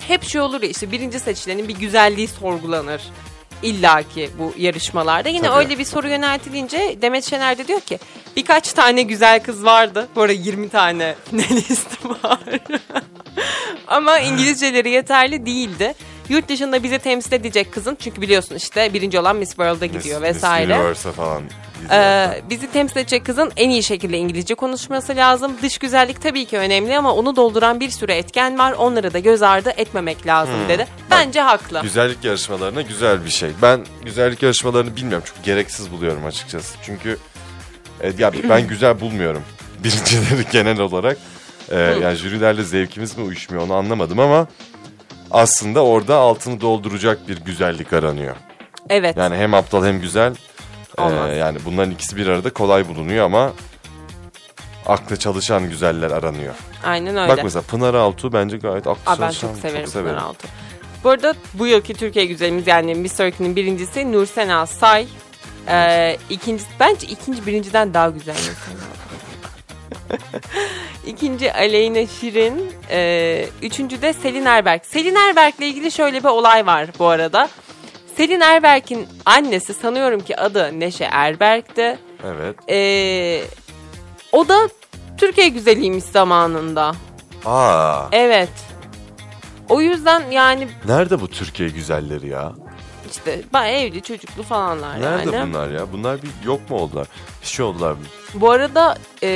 S3: hep şey olur ya işte birinci seçilenin bir güzelliği sorgulanır. İlla ki bu yarışmalarda. Yine
S2: Tabii.
S3: öyle bir soru yöneltilince Demet Şener de diyor ki birkaç tane güzel kız vardı. Bu arada 20 tane finalist var. Ama İngilizceleri yeterli değildi. Yurt dışında bizi temsil edecek kızın çünkü biliyorsun işte birinci olan Miss World'a gidiyor
S2: Miss- Miss
S3: vesaire.
S2: Universe'a falan.
S3: Ee,
S2: gidiyor.
S3: bizi temsil edecek kızın en iyi şekilde İngilizce konuşması lazım. Dış güzellik tabii ki önemli ama onu dolduran bir sürü etken var. Onları da göz ardı etmemek lazım
S2: Hmm.
S3: dedi. Bence haklı.
S2: Güzellik yarışmalarına güzel bir şey. Ben güzellik yarışmalarını bilmiyorum. Çok gereksiz buluyorum açıkçası. Çünkü e, ya ben güzel bulmuyorum. birincileri genel olarak. Ee, yani jürilerle zevkimiz mi uyuşmuyor onu anlamadım ama aslında orada altını dolduracak bir güzellik aranıyor.
S3: Evet.
S2: Yani hem aptal hem güzel. Ee,
S3: Olmaz.
S2: yani bunların ikisi bir arada kolay bulunuyor ama aklı çalışan güzeller aranıyor.
S3: Aynen öyle.
S2: Bak mesela Pınar Altuğ bence gayet aklı
S3: Aa, ben
S2: çalışan.
S3: çok severim Pınar Altuğ. Bu arada bu yılki Türkiye güzelimiz yani Miss Turkey'nin birincisi Nursena Say. Ee, ikinci, bence ikinci birinciden daha güzel Nursena. İkinci Aleyna Şirin. Ee, üçüncü de Selin Erberk. Selin Erberk'le ilgili şöyle bir olay var bu arada. Selin Erberk'in annesi sanıyorum ki adı Neşe Erberk'ti.
S2: Evet.
S3: Ee, o da Türkiye güzeliymiş zamanında.
S2: Aa,
S3: Evet. O yüzden yani
S2: nerede bu Türkiye güzelleri ya?
S3: işte ba- evli çocuklu falanlar
S2: Nerede
S3: yani.
S2: bunlar ya? Bunlar bir yok mu oldular? Bir şey oldular mı?
S3: Bu arada e,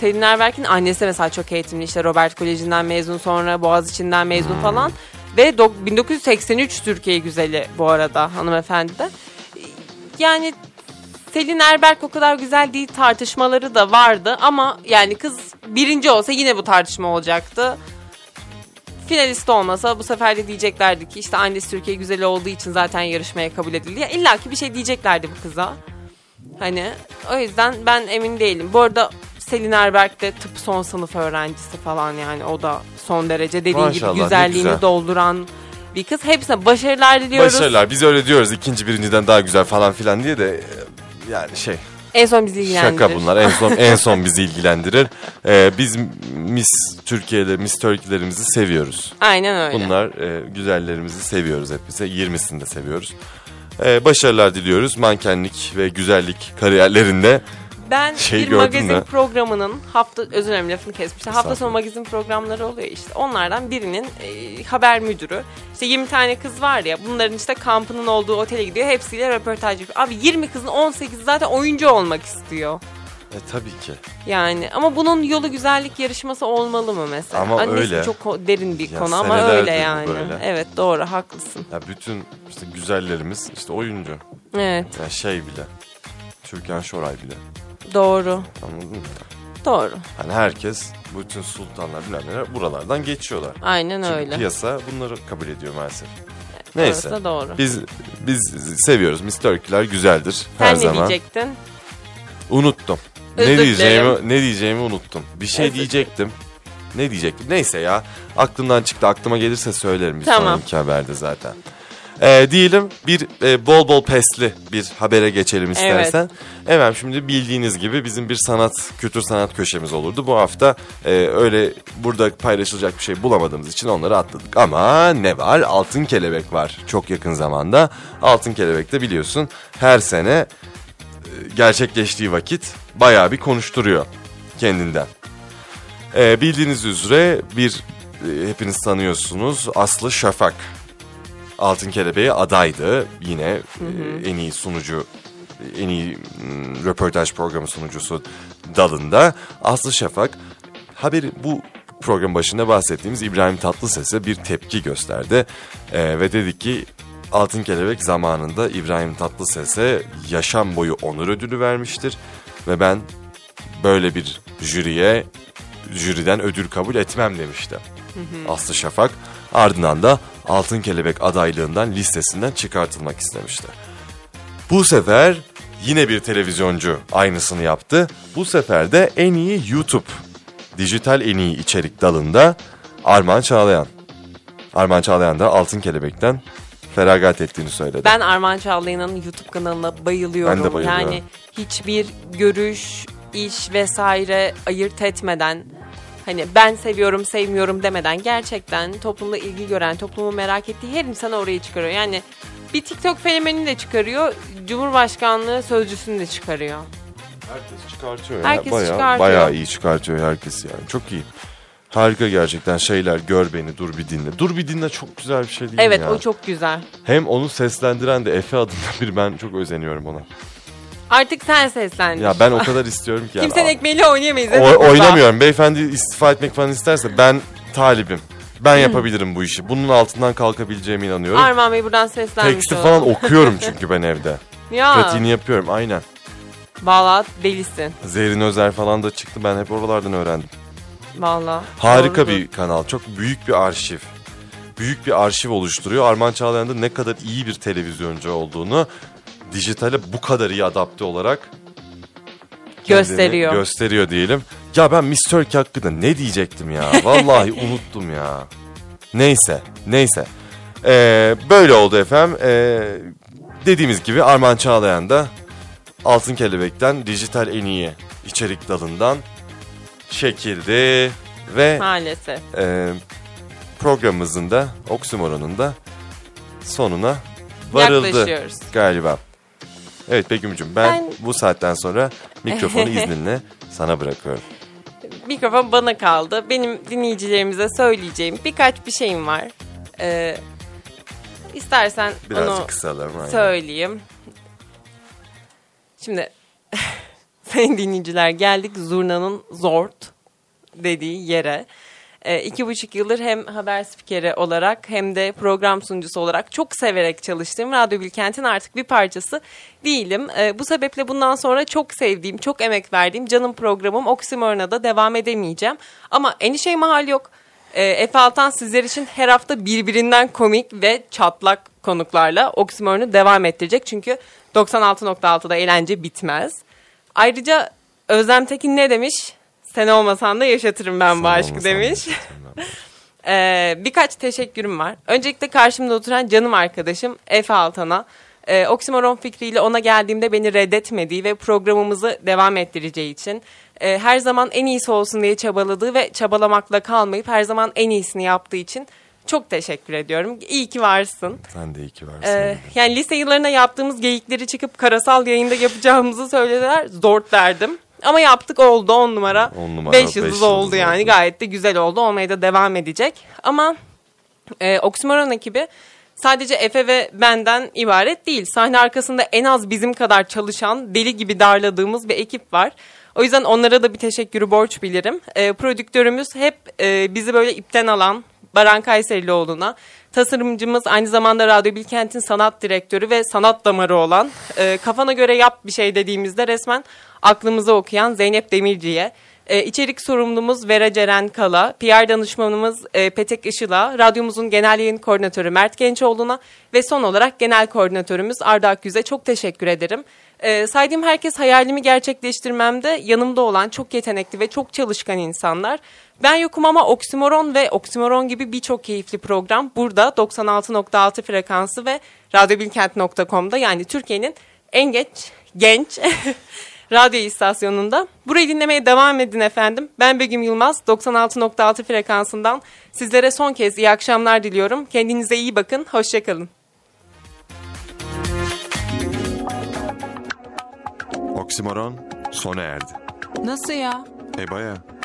S3: Selin Erberk'in annesi mesela çok eğitimli işte Robert Koleji'nden mezun sonra Boğaziçi'nden
S2: Hmm.
S3: mezun falan. Ve dok- 1983 Türkiye güzeli bu arada hanımefendi de. E, Yani Selin Erberk o kadar güzel değil tartışmaları da vardı ama yani kız birinci olsa yine bu tartışma olacaktı. Finalist olmasa bu sefer de diyeceklerdi ki işte annesi Türkiye güzeli olduğu için zaten yarışmaya kabul edildi. Ya İlla ki bir şey diyeceklerdi bu kıza. Hani o yüzden ben emin değilim. Bu arada Selin Erberk de tıp son sınıf öğrencisi falan yani o da son derece dediğin
S2: Maşallah, ne
S3: gibi güzelliğini
S2: güzel.
S3: dolduran bir kız. Hepsine başarılar diliyoruz.
S2: Başarılar. Biz öyle diyoruz ikinci birinciden daha güzel falan filan diye de e, yani şey
S3: En son bizi ilgilendirir.
S2: şaka bunlar. En son en son bizi ilgilendirir. Ee, biz Miss Türkiye'de Miss Turkey'lerimizi seviyoruz.
S3: Aynen öyle.
S2: Bunlar e, güzellerimizi seviyoruz hep bize. 20'sini de seviyoruz. Ee, başarılar diliyoruz mankenlik ve güzellik kariyerlerinde.
S3: Ben
S2: Şey
S3: bir
S2: gördün
S3: magazin
S2: mü?
S3: programının hafta özür dilerim lafını kesmiştim. Hafta sonu
S2: Estağfurullah.
S3: magazin programları oluyor işte. Onlardan birinin e, haber müdürü işte 20 tane kız var ya bunların işte kampının olduğu otele gidiyor. Hepsiyle röportaj yapıyor. Abi 20 kızın 18 zaten oyuncu olmak istiyor.
S2: E, tabii ki.
S3: Yani ama bunun yolu güzellik yarışması olmalı mı mesela?
S2: Ama
S3: Annesi
S2: öyle.
S3: çok ko- derin bir
S2: Ya
S3: konu ama
S2: senelerdir
S3: öyle
S2: bu
S3: yani.
S2: böyle.
S3: Evet doğru haklısın.
S2: Ya bütün işte güzellerimiz işte oyuncu.
S3: Evet
S2: Ya şey bile. Türkan Şoray bile.
S3: doğru.
S2: Anladın mı?
S3: Doğru.
S2: Hani herkes bütün sultanlar bilmem neler buralardan geçiyorlar.
S3: Aynen
S2: Çünkü
S3: öyle.
S2: piyasa bunları kabul ediyor maalesef. Neyse.
S3: Orası da doğru.
S2: Biz biz seviyoruz. Mr. Turkey'ler güzeldir
S3: Sen
S2: her
S3: ne
S2: zaman.
S3: diyecektin?
S2: Unuttum.
S3: Özür
S2: ne
S3: dilerim.
S2: diyeceğimi ne diyeceğimi unuttum. Bir şey
S3: Özür
S2: diyecektim. Ne diyecektim? Neyse ya. Aklımdan çıktı. Aklıma gelirse söylerim bir
S3: Tamam.
S2: sonraki haberde zaten. Ee, diyelim bir e, bol bol pesli bir habere geçelim istersen. Efendim şimdi bildiğiniz gibi bizim bir sanat, kültür sanat köşemiz olurdu. Bu hafta e, öyle burada paylaşılacak bir şey bulamadığımız için onları atladık. Ama ne var? Altın Kelebek var çok yakın zamanda. Altın Kelebek de biliyorsun her sene e, gerçekleştiği vakit bayağı bir konuşturuyor kendinden. Ee, bildiğiniz üzere bir e, hepiniz tanıyorsunuz Aslı Şafak Altın Kelebeği adaydı yine e, en iyi sunucu e, en iyi mm, röportaj programı sunucusu dalında Aslı Şafak haberi bu program başında bahsettiğimiz İbrahim Tatlıses'e bir tepki gösterdi Ee, ve dedi ki Altın Kelebek zamanında İbrahim Tatlıses'e yaşam boyu onur ödülü vermiştir ve ben böyle bir jüriye jüriden ödül kabul etmem demişti. Aslı Şafak ardından da Altın Kelebek adaylığından listesinden çıkartılmak istemişti. Bu sefer yine bir televizyoncu aynısını yaptı. Bu sefer de en iyi YouTube dijital en iyi içerik dalında Arman Çağlayan. Arman Çağlayan da Altın Kelebek'ten feragat ettiğini söyledi.
S3: Ben Arman Çağlayan'ın YouTube kanalına bayılıyorum.
S2: Ben de bayılıyorum.
S3: Yani hiçbir görüş, iş vesaire ayırt etmeden hani ben seviyorum sevmiyorum demeden gerçekten toplumda ilgi gören, toplumu merak ettiği her insanı oraya çıkarıyor. Yani bir TikTok fenomenini de çıkarıyor, Cumhurbaşkanlığı sözcüsünü de çıkarıyor.
S2: Herkes çıkartıyor ya.
S3: Herkes
S2: bayağı,
S3: çıkartıyor.
S2: Bayağı iyi çıkartıyor herkes yani. Çok iyi. Harika gerçekten şeyler gör beni dur bir dinle. Dur bir dinle çok güzel bir şey değil mi
S3: Evet
S2: ya.
S3: o çok güzel.
S2: Hem onu seslendiren de Efe adında bir ben çok özeniyorum ona.
S3: Artık sen seslendir.
S2: Ya ben o kadar istiyorum ki. Yani.
S3: Kimsenin ekmeğiyle oynayamayız.
S2: O-
S3: değil mi?
S2: oynamıyorum. Beyefendi istifa etmek falan isterse ben talibim.
S3: Hmm.
S2: Ben yapabilirim bu işi. Bunun altından kalkabileceğime inanıyorum.
S3: Arman Bey buradan seslenmiş
S2: Teksti
S3: olalım.
S2: falan okuyorum çünkü ben evde.
S3: Ya.
S2: Pratiğini yapıyorum aynen.
S3: Valla delisin.
S2: Zehrin Özer falan da çıktı. Ben hep oralardan öğrendim.
S3: Valla.
S2: Harika
S3: Doğrudur.
S2: bir kanal. Çok büyük bir arşiv. Büyük bir arşiv oluşturuyor. Arman Çağlayan'ın da ne kadar iyi bir televizyoncu olduğunu dijitale bu kadar iyi adapte olarak kendini
S3: gösteriyor.
S2: Gösteriyor diyelim. Ya ben Miss Turkey hakkında ne diyecektim ya? Vallahi unuttum ya. Neyse, neyse. Ee, böyle oldu efendim. Ee, dediğimiz gibi Arman Çağlayan da Altın Kelebek'ten dijital en iyi içerik dalından çekildi ve
S3: Maalesef.
S2: e, programımızın da Oksimoron'un da sonuna varıldı
S3: Yaklaşıyoruz.
S2: galiba. Evet Begüm'cüm ben,
S3: Ben-
S2: bu saatten sonra mikrofonu izninle sana bırakıyorum.
S3: Mikrofon bana kaldı. Benim dinleyicilerimize söyleyeceğim birkaç bir şeyim var. Ee, istersen
S2: Birazcık
S3: onu
S2: kısalım. aynen.
S3: söyleyeyim. Şimdi sayın dinleyiciler geldik Zurna'nın Zort dediği yere. Ee, iki buçuk yıldır hem haber spikeri olarak hem de program sunucusu olarak çok severek çalıştığım Radyo Bilkent'in artık bir parçası değilim. Ee, bu sebeple bundan sonra çok sevdiğim, çok emek verdiğim canım programım Oksimoron'a da devam edemeyeceğim. Ama endişeye mahal yok. Ee, Efe Altan sizler için her hafta birbirinden komik ve çatlak konuklarla Oksimoron'u devam ettirecek. Çünkü 96.6'da eğlence bitmez. Ayrıca Özlem Tekin ne demiş? Sen olmasan da yaşatırım ben bu
S2: Sana
S3: aşkı
S2: olmasa
S3: demiş.
S2: olmaz.
S3: Ee, birkaç teşekkürüm var. Öncelikle karşımda oturan canım arkadaşım Efe Altan'a. Ee, oksimoron fikriyle ona geldiğimde beni reddetmediği ve programımızı devam ettireceği için e, her zaman en iyisi olsun diye çabaladığı ve çabalamakla kalmayıp her zaman en iyisini yaptığı için çok teşekkür ediyorum. İyi ki varsın.
S2: Sen de iyi ki varsın.
S3: Ee, yani lise yıllarına yaptığımız geyikleri çıkıp karasal yayında yapacağımızı söylediler. Zort derdim. Ama yaptık oldu on numara.
S2: On numara,
S3: 5
S2: beş
S3: yıldız,
S2: yıldız
S3: oldu, yani
S2: oldu.
S3: gayet de güzel oldu. Olmaya da devam edecek. Ama e, Oksimoron ekibi sadece Efe ve benden ibaret değil. Sahne arkasında en az bizim kadar çalışan, deli gibi darladığımız bir ekip var. O yüzden onlara da bir teşekkürü borç bilirim. E, prodüktörümüz hep e, bizi böyle ipten alan Baran Kayserilioğlu'na. Tasarımcımız aynı zamanda Radyo Bilkent'in sanat direktörü ve sanat damarı olan e, kafana göre yap bir şey dediğimizde resmen aklımızı okuyan Zeynep Demirci'ye. Ee, içerik sorumlumuz Vera Ceren Kala, PR danışmanımız e, Petek Işıl'a, radyomuzun genel yayın koordinatörü Mert Gençoğlu'na ve son olarak genel koordinatörümüz Arda Akgüz'e çok teşekkür ederim. Ee, saydığım herkes hayalimi gerçekleştirmemde yanımda olan çok yetenekli ve çok çalışkan insanlar. Ben yokum ama Oksimoron ve Oksimoron gibi birçok keyifli program burada 96.6 frekansı ve radyobilkent.com'da yani Türkiye'nin en geç genç radyo istasyonunda. Burayı dinlemeye devam edin efendim. Ben Begüm Yılmaz 96.6 frekansından sizlere son kez iyi akşamlar diliyorum. Kendinize iyi bakın. Hoşçakalın.
S2: Oksimoron sona erdi.
S4: Nasıl ya?
S2: E baya.